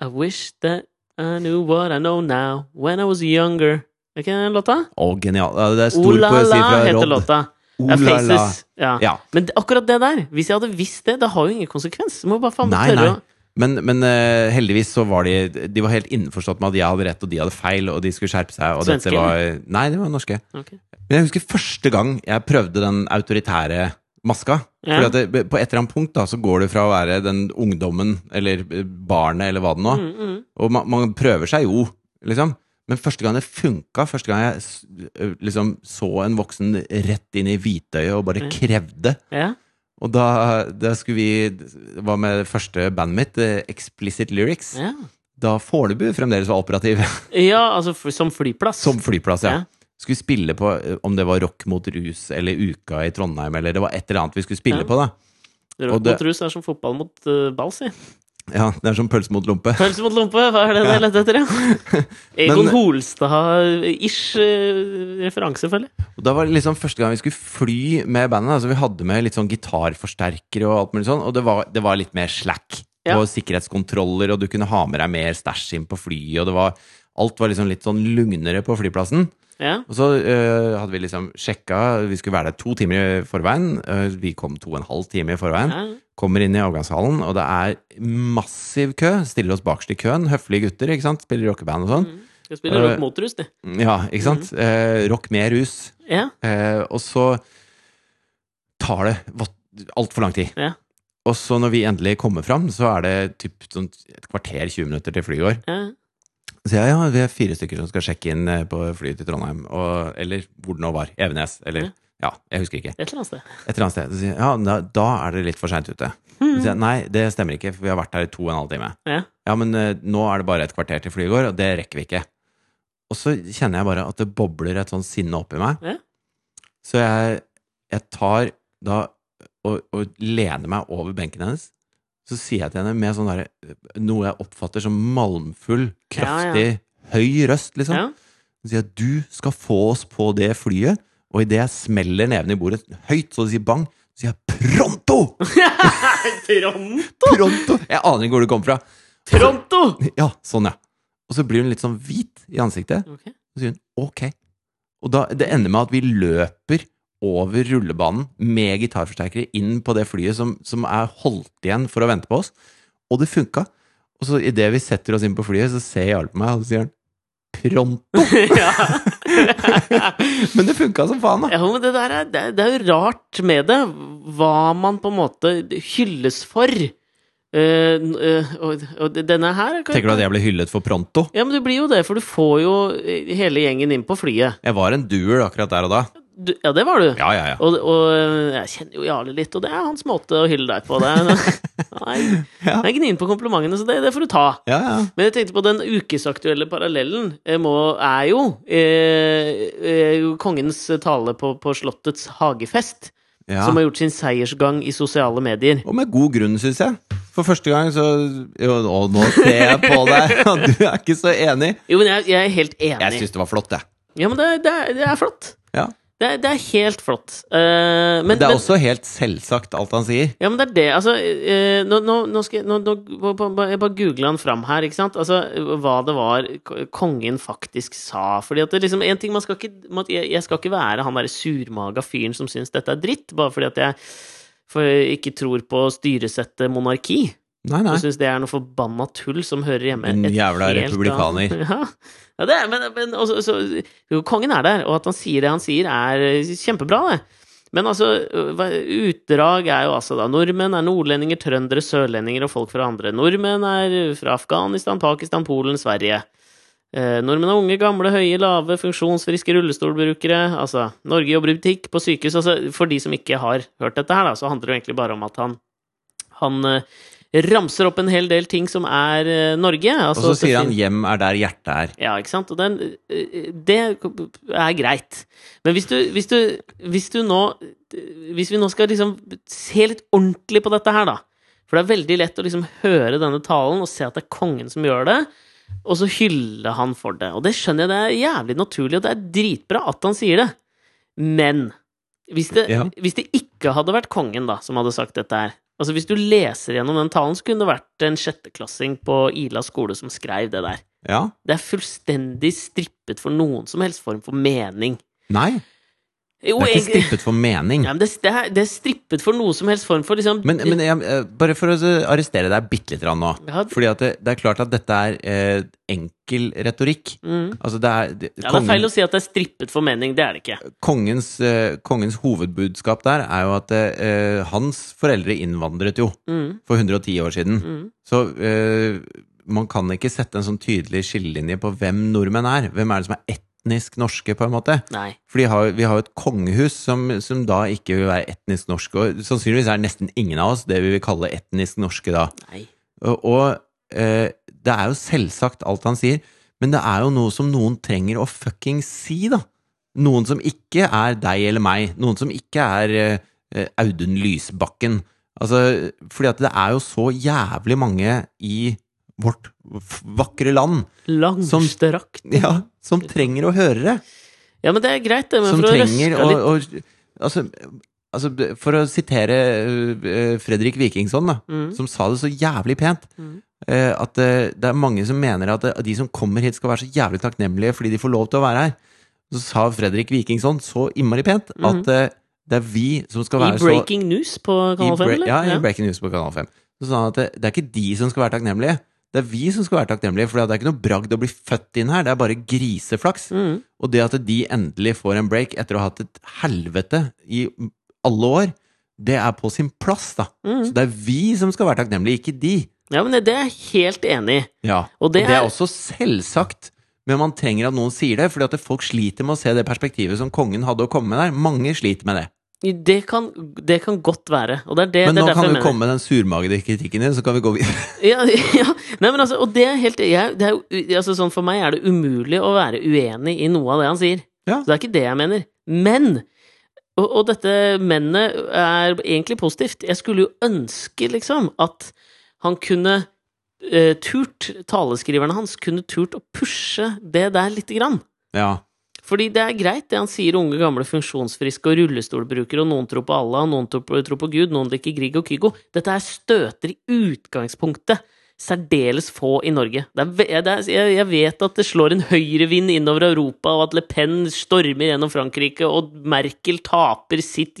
S2: I wish that I knew what I know now when I was younger. Er ikke den låta?
S1: Å, genial. Ja, det er stor
S2: O la
S1: poesi
S2: la
S1: fra
S2: heter
S1: Rod.
S2: låta.
S1: Oh la
S2: Ja,
S1: la.
S2: faces. Ja.
S1: Ja.
S2: Men det- akkurat det der, hvis jeg hadde visst det, det har jo ingen konsekvens. Du må bare faen
S1: Nei,
S2: meg
S1: nei.
S2: tørre å
S1: Men, men eh, heldigvis så var de De var helt innforstått med at jeg hadde rett og de hadde feil, og de skulle skjerpe seg. Og
S2: Svenske,
S1: dette var, nei, de var norske.
S2: Ok.
S1: Men jeg husker første gang jeg prøvde den autoritære maska.
S2: Ja.
S1: Fordi at det, På et eller annet punkt da, så går det fra å være den ungdommen eller eh, barnet eller hva det nå
S2: mm, mm.
S1: Og man, man prøver seg jo, liksom. Men første gang det funka, første gang jeg s- øh, liksom så en voksen rett inn i hvitøyet og bare
S2: Ja.
S1: krevde
S2: Ja.
S1: Og da, da skulle vi Det var med det første bandet mitt, eh, Explicit Lyrics.
S2: Ja.
S1: Da Fornebu fremdeles var operativ
S2: ja, altså f som flyplass.
S1: som flyplass, ja.
S2: Ja.
S1: Skulle spille på eh, om det var Rock mot rus eller Uka i Trondheim, eller det var et eller annet vi skulle spille
S2: Ja.
S1: på, da.
S2: Rock
S1: og det-
S2: mot rus er som fotball mot uh, ball, si.
S1: Ja, det er som pølse mot lompe.
S2: Pølse mot lompe, hva er det dere lette etter, ja? Egon
S1: Men-
S2: Holstad-ish eh, referanse, føler jeg.
S1: Og da var det liksom første gang vi skulle fly med bandet. Altså vi hadde med litt sånn gitarforsterkere og alt mulig sånn, og det var, det var litt mer slack
S2: Ja.
S1: på sikkerhetskontroller, og du kunne ha med deg mer stæsj inn på flyet, og det var Alt var liksom litt sånn lugnere på flyplassen.
S2: Ja.
S1: Og så øh, hadde vi liksom sjekka Vi skulle være der to timer i forveien. øh, vi kom to og en halv time i forveien.
S2: ja.
S1: Kommer inn i avgangshallen, og det er massiv kø. Stiller oss bakerst i køen. Høflige gutter, ikke sant? Spiller rockeband og sånn.
S2: Mm. Skal spille rock
S1: Eh,
S2: mot rus, de.
S1: Ja, ikke sant? Eh, rock med rus.
S2: Ja.
S1: Eh, og så tar det va- altfor lang tid.
S2: Ja.
S1: Og så når vi endelig kommer fram, så er det typ sånn et kvarter, 20 minutter til flyet går.
S2: ja.
S1: Så jeg, ja, vi er fire stykker som skal sjekke inn eh, på flyet til Trondheim, og, eller hvor det nå var. Evenes, eller Ja, jeg husker ikke.
S2: Et eller annet sted.
S1: Et eller annet sted. Så sier jeg, ja, da, da er dere litt for seint ute. Så sier jeg, nei, det stemmer ikke, for vi har vært her i to og en halv time.
S2: Ja.
S1: Ja, men eh, nå er det bare et kvarter til flyet går, og det rekker vi ikke. Og så kjenner jeg bare at det bobler et sånn sinne oppi meg.
S2: Ja.
S1: Så jeg, jeg tar da og, og lener meg over benken hennes. Så sier jeg til henne med sånn derre Noe jeg oppfatter som malmfull, kraftig, høy røst, liksom.
S2: Ja.
S1: Hun sier at du skal få oss på det flyet, og idet jeg smeller neven i bordet høyt, så det sier bang, så sier jeg pronto!
S2: Toronto!
S1: Pronto! Jeg aner ikke hvor det kom fra.
S2: Toronto!
S1: Ja, sånn, ja. Og så blir hun litt sånn hvit i ansiktet,
S2: Ok.
S1: og så sier hun ok. Og da, det ender med at vi løper over rullebanen med gitarforsterkere inn på det flyet som, som er holdt igjen for å vente på oss, og det funka. Og så idet vi setter oss inn på flyet, så ser Jarl på meg, og så sier han pronto!
S2: ja.
S1: Men det funka som faen, da.
S2: ja, men det der er, det, er- det er jo rart med det. Hva man på en måte hylles for. Eh, n- eh, og, og denne her kan-
S1: Tenker du at jeg ble hyllet for pronto?
S2: Ja, men du blir jo det, for du får jo eh, hele gjengen inn på flyet.
S1: Jeg var en doer akkurat der og da.
S2: Du, ja, det var du.
S1: Ja, ja, ja.
S2: Og, og jeg kjenner jo Jarle litt, og det er hans måte å hylle deg på. Det er, nei,
S1: Ja.
S2: jeg gnir på komplimentene, så det, det får du ta.
S1: ja, ja.
S2: Men jeg tenkte på den ukesaktuelle parallellen eh, må, er jo eh, eh, kongens tale på, på Slottets hagefest,
S1: ja.
S2: som har gjort sin seiersgang i sosiale medier.
S1: Og med god grunn, syns jeg. For første gang så jo, Og nå ser jeg på deg at du er ikke så enig.
S2: Jo, men jeg, jeg er helt
S1: Jeg
S2: enig.
S1: syns det var flott, jeg.
S2: Ja, men det, er- det, er- det er flott.
S1: Ja.
S2: Det er, det er helt flott. Eh, men,
S1: Det er
S2: men-
S1: også helt selvsagt, alt han sier.
S2: Ja, men det er det. Altså, eh, nå, nå, nå skal jeg nå, nå, ba- ba- ba- Jeg bare googla han fram her, ikke sant? Altså, hva det var k- kongen faktisk sa. Fordi at det liksom En ting man skal ikke man- Jeg jeg skal ikke være han derre surmaga fyren som syns dette er dritt, bare fordi at jeg for jeg ikke tror på styresettet monarki.
S1: Nei, nei.
S2: Og syns det er noe forbanna tull som hører hjemme
S1: Din
S2: et
S1: jævla
S2: helt
S1: republikaner.
S2: annet- Ja, ja det er, men, men også, så, jo, kongen er der, og at han sier det han sier, er eh, kjempebra, det. Men altså, eh, hva- utdrag er jo altså da Nordmenn er nordlendinger, trøndere, sørlendinger og folk fra andre. Nordmenn er fra Afghanistan, Pakistan, Polen, Sverige. Eh, nordmenn er unge, gamle, høye, lave, funksjonsfriske rullestolbrukere. Altså, Norge jobber i butikk, på sykehus. Altså, for de som ikke har hørt dette her, da, så handler det jo egentlig bare om at han, han eh, ramser opp en hel del ting som er eh, Norge.
S1: Og så
S2: Altså, at det
S1: sier han
S2: fin-
S1: 'hjem er der hjertet er'.
S2: ja, ikke sant? Og den, eh, det er greit. Men hvis du, hvis du, hvis du nå Hvis vi nå skal liksom se litt ordentlig på dette her, da. For det er veldig lett å liksom høre denne talen og se at det er kongen som gjør det. Og så hylle han for det. Og det skjønner jeg, det er jævlig naturlig, og det er dritbra at han sier det. Men hvis det,
S1: Ja.
S2: hvis det ikke hadde vært kongen da, som hadde sagt dette her Altså Hvis du leser gjennom den talen, så kunne det vært en sjetteklassing på Ila skole som skrev det der.
S1: Ja.
S2: Det er fullstendig strippet for noen som helst form for mening.
S1: Nei.
S2: Jo,
S1: Det er ikke
S2: egentlig-
S1: strippet for mening.
S2: Ja, men det, det, er, det er strippet for noe som helst form for liksom
S1: Men, men jeg, eh, bare for å så arrestere deg bitte litt nå.
S2: Ja,
S1: Fordi at det, det er klart at dette er eh, enkel retorikk.
S2: mm.
S1: Altså det er, det,
S2: ja, det er
S1: kongen-
S2: feil å si at det er strippet for mening. Det er det ikke.
S1: kongens, eh, kongens hovedbudskap der er jo at eh, hans foreldre innvandret jo
S2: Mm.
S1: for 110 år siden.
S2: Mm.
S1: Så eh, man kan ikke sette en sånn tydelig skillelinje på hvem nordmenn er. Hvem er det som er etnisk norske, på en måte?
S2: Nei.
S1: For de har, vi har jo et kongehus som, som da ikke vil være etnisk norske. Og sannsynligvis er nesten ingen av oss det vi vil kalle etnisk norske da.
S2: Nei.
S1: Og, og eh, det er jo selvsagt alt han sier, men det er jo noe som noen trenger å fucking si, da. Noen som ikke er deg eller meg. Noen som ikke er eh, eh, Audun Lysbakken. Altså, fordi at det er jo så jævlig mange i vårt f- vakre land
S2: Langstrakt.
S1: ja, som trenger å høre det.
S2: Ja, men det er greit, det. Men
S1: Som
S2: for å
S1: trenger
S2: røske
S1: å
S2: litt
S1: å- altså, altså, for å sitere eh, Fredrik Wikingsson, da,
S2: Mm.
S1: som sa det så jævlig pent
S2: Mm.
S1: eh, At eh, det er mange som mener at eh, de som kommer hit, skal være så jævlig takknemlige fordi de får lov til å være her. Så sa Fredrik Wikingsson så innmari pent at eh, det er vi som skal
S2: Mm. I
S1: være så
S2: Breaking News på Kanal
S1: i bre-
S2: 5, eller?
S1: Ja, i Breaking News på Kanal 5. Så sa han at det, det er ikke de som skal være takknemlige. Det er vi som skal være takknemlige, for det er ikke noe bragd å bli født inn her. Det er bare griseflaks.
S2: Mm.
S1: Og det at de endelig får en break etter å ha hatt et helvete i alle år, det er på sin plass, da.
S2: Mm.
S1: Så det er vi som skal være takknemlige, ikke de.
S2: ja, men det- det er jeg helt enig i.
S1: Ja.
S2: Og det
S1: er
S2: er-
S1: også selvsagt, men man trenger at noen sier det, fordi at folk sliter med å se det perspektivet som kongen hadde å komme med der. Mange sliter med det.
S2: Det kan, det kan godt være. Og det er det,
S1: Men
S2: det
S1: nå
S2: er derfor
S1: kan
S2: jeg
S1: du
S2: mener
S1: komme med den surmagede kritikken din, så kan vi gå videre.
S2: Ja, ja. Nei, men altså, og det er helt jeg, det er, jo- altså, sånn For meg er det umulig å være uenig i noe av det han sier.
S1: Ja.
S2: Så det er ikke det jeg mener. Men! Og, og dette mennet er egentlig positivt. Jeg skulle jo ønske, liksom, at han kunne eh, turt Taleskriverne hans kunne turt å pushe det der lite grann.
S1: Ja.
S2: Fordi det er greit, det han sier, unge, gamle, funksjonsfriske og rullestolbrukere, og noen tror på Allah, og noen tror på, tror på Gud, noen liker Grieg og Kygo. Dette her støter i utgangspunktet særdeles få i Norge. Det er, ve- det er, jeg, jeg vet at det slår en høyrevind innover Europa, og at Le Pen stormer gjennom Frankrike, og Merkel taper sitt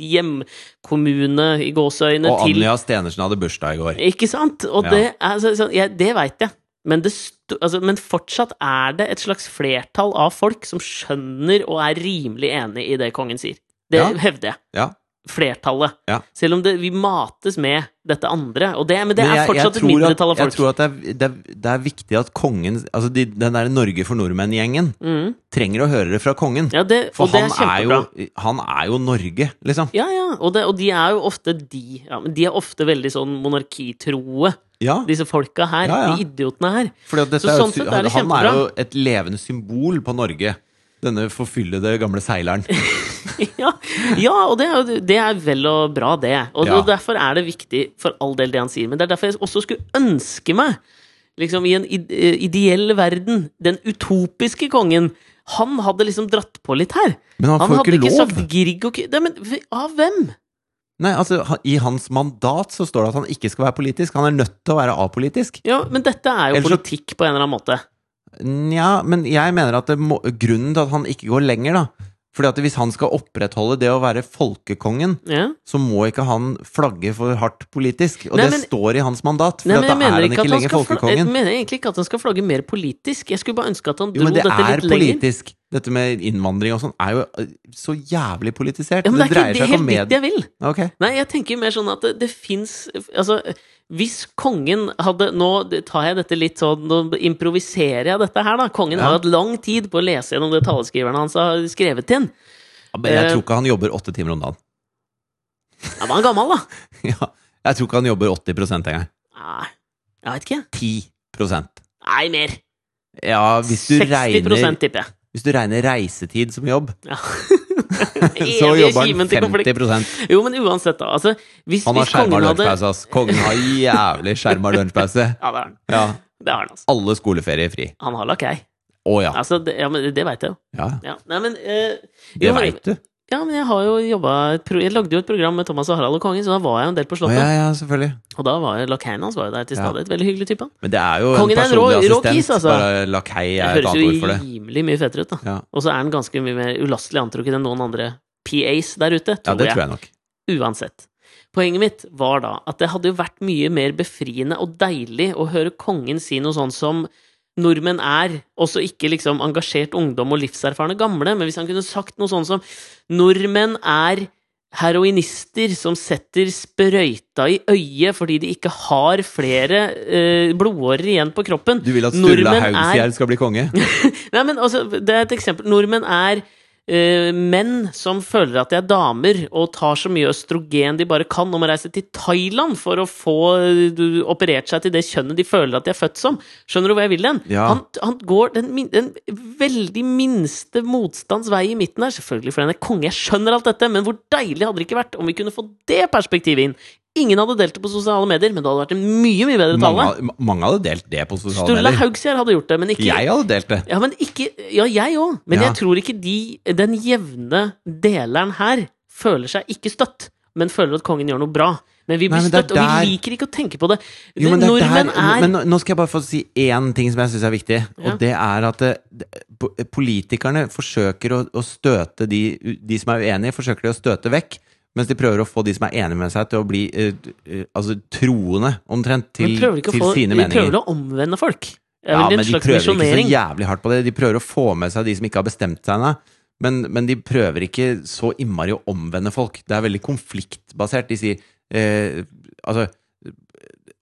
S2: hjemkommune i gåseøyne
S1: Og
S2: til
S1: Anja Stenersen hadde bursdag i går.
S2: ikke sant? Og
S1: Ja.
S2: det, er, altså, så, så, jeg- det veit jeg. Men, det sto, altså, men fortsatt er det et slags flertall av folk som skjønner og er rimelig enig i det kongen sier. Det
S1: Ja.
S2: hevder jeg.
S1: Ja.
S2: Flertallet.
S1: Ja.
S2: Selv om det, vi mates med dette andre. Og det, men det
S1: Men
S2: er fortsatt et
S1: tror
S2: mindretall
S1: at,
S2: av folk.
S1: Jeg tror at det er, det er, det er viktig at kongen Altså de, den der Norge for nordmenn-gjengen
S2: mm.
S1: trenger å høre det fra kongen.
S2: ja, det,
S1: For
S2: og det
S1: han,
S2: er
S1: er
S2: kjempebra.
S1: jo, han er jo Norge, liksom.
S2: Ja, ja. Og, det, og de er jo ofte de ja, men De er ofte veldig sånn monarkitroe,
S1: Ja,
S2: disse folka her.
S1: Ja, ja.
S2: De idiotene her.
S1: fordi at dette
S2: Så
S1: er jo,
S2: sånn sett er det
S1: han er
S2: kjempebra.
S1: jo et levende symbol på Norge. Denne forfyllede gamle seileren.
S2: ja, ja, og det er, jo- det er vel og bra, det. Og,
S1: Ja.
S2: og derfor er det viktig for all del det han sier. Men det er derfor jeg også skulle ønske meg, liksom i en id- eh, ideell verden, den utopiske kongen. Han hadde liksom dratt på litt her.
S1: Men han, får
S2: hadde
S1: ikke
S2: ikke
S1: lov!
S2: sagt Grieg og Ky- Nei, men v- Av hvem?
S1: Nei, altså, han, I hans mandat så står det at han ikke skal være politisk. Han er nødt til å være apolitisk.
S2: Ja, men dette er jo
S1: Ellers så-
S2: politikk på en eller annen måte.
S1: Nja, men jeg mener at det må, grunnen til at han ikke går lenger, da Fordi at hvis han skal opprettholde det å være folkekongen,
S2: Ja.
S1: så må ikke han flagge for hardt politisk. Og
S2: Nei,
S1: det
S2: men-
S1: står i hans mandat, for
S2: Nei,
S1: at
S2: men
S1: da
S2: jeg
S1: er
S2: mener,
S1: han
S2: ikke
S1: ikke
S2: at han
S1: lenger
S2: skal fla- jeg
S1: folkekongen.
S2: mener egentlig ikke at han skal flagge mer politisk. Jeg skulle bare ønske at han dro
S1: Jo, men det
S2: dette
S1: er
S2: litt lenger.
S1: politisk. Dette med innvandring og sånn er jo eh, så jævlig politisert.
S2: Ja, men det
S1: det,
S2: er
S1: dreier
S2: ikke det,
S1: seg ikke om
S2: helt dit
S1: med...
S2: jeg vil.
S1: Ok.
S2: Nei, jeg tenker mer sånn at det, det fins Altså, hvis kongen hadde Nå tar jeg dette litt sånn Nå improviserer jeg dette her, da. Kongen
S1: Ja.
S2: har hatt lang tid på å lese gjennom det taleskriverne hans har skrevet inn.
S1: Ja, men Jeg
S2: Eh.
S1: tror ikke han jobber åtte timer om dagen.
S2: Ja, men han er gammel, da.
S1: Ja, jeg tror ikke han jobber 80 engang.
S2: Nei, jeg vet ikke.
S1: 10
S2: Nei, mer.
S1: Ja, hvis du,
S2: 60
S1: regner,
S2: tipper jeg.
S1: hvis du regner reisetid som jobb,
S2: Ja.
S1: så
S2: Evige
S1: jobber
S2: kimen
S1: han
S2: til konflikt.
S1: 50
S2: Jo, men uansett, da. Altså, hvis,
S1: Han har altså.
S2: hvis
S1: skjerma
S2: kongen hadde
S1: lunsjpause, ass. Kongen har jævlig skjerma lunsjpause.
S2: Ja, det har han.
S1: Ja.
S2: Det har han, altså.
S1: Alle skoleferier fri.
S2: Han har lakei.
S1: Å ja.
S2: Altså, det, ja, men det veit jeg jo.
S1: ja.
S2: Ja. Nei, men eh,
S1: Det
S2: jo, men-
S1: veit du.
S2: Ja, men jeg har jo jobbet- et pro- Jeg lagde jo et program med Thomas og Harald og Kongen, så da var jeg jo en del på
S1: Å
S2: Slottet.
S1: ja, ja, selvfølgelig.
S2: Og da var jo lakaien hans var jo der til
S1: Ja.
S2: stadighet. Veldig hyggelig type. han.
S1: Men det er jo
S2: Kongen
S1: en
S2: er en
S1: personlig
S2: rå- rå
S1: assistent.
S2: kis, altså.
S1: Bare lakei er
S2: Det
S1: et
S2: høres
S1: annet ord
S2: jo
S1: for det.
S2: rimelig mye fetere ut, da.
S1: Ja.
S2: Og så er han ganske mye mer ulastelig antrukket enn noen andre PAs der ute,
S1: Ja,
S2: tror,
S1: det
S2: jeg.
S1: tror jeg nok.
S2: Uansett. Poenget mitt var da at det hadde jo vært mye mer befriende og deilig å høre kongen si noe sånn som nordmenn er, også ikke liksom engasjert ungdom og livserfarne gamle, men hvis han kunne sagt noe sånn som nordmenn er heroinister som setter sprøyta i øyet fordi de ikke har flere eh, blodårer igjen på kroppen.
S1: Du vil at Sturla
S2: Nordmenn er-
S1: Haugsgjerd skal bli konge?
S2: Nei, men altså, det er et eksempel. Nordmenn er eh, menn som føler at de er damer, og tar så mye østrogen de bare kan, og må reise til Thailand for å få eh, du, operert seg til det kjønnet de føler at de er født som. Skjønner du hvor jeg vil hen?
S1: Ja.
S2: Han, han går den, min- den veldig minste motstands vei i midten her, selvfølgelig, for han er konge. Jeg skjønner alt dette, men hvor deilig hadde det ikke vært om vi kunne få det perspektivet inn? Ingen hadde delt det på sosiale medier, men det hadde vært en mye, mye bedre
S1: Mange,
S2: tale.
S1: ma- mange hadde delt det på sosiale
S2: Sturla
S1: medier.
S2: Haugsgjerd hadde gjort det, men ikke
S1: Jeg hadde delt det.
S2: ja, men ikke Ja, jeg òg. Men
S1: Ja.
S2: jeg tror ikke de, den jevne deleren her, føler seg ikke støtt, men føler at kongen gjør noe bra. Men vi
S1: Nei,
S2: blir
S1: men det er
S2: støtt, og vi
S1: der-
S2: liker ikke å tenke på det.
S1: Jo, men det er
S2: Nordmenn
S1: der,
S2: er
S1: men nå- nå skal jeg bare få si én ting som jeg syns er viktig.
S2: Ja.
S1: Og det er at eh, d- po- politikerne forsøker å, å støte de, u- de som er uenige, forsøker de å støte vekk. Mens de prøver å få de som er enige med seg, til å bli eh, d- eh, altså, troende, omtrent,
S2: men
S1: til,
S2: prøver ikke å
S1: til
S2: få,
S1: sine
S2: Vi prøver
S1: meninger.
S2: å omvende folk. Det er
S1: Ja,
S2: vel
S1: men
S2: en
S1: de
S2: slags
S1: prøver ikke så
S2: misjonering.
S1: jævlig hardt på det. De prøver å få med seg de som ikke har bestemt seg ennå. Men, men de prøver ikke så innmari å omvende folk. Det er veldig konfliktbasert. De sier eh, Altså,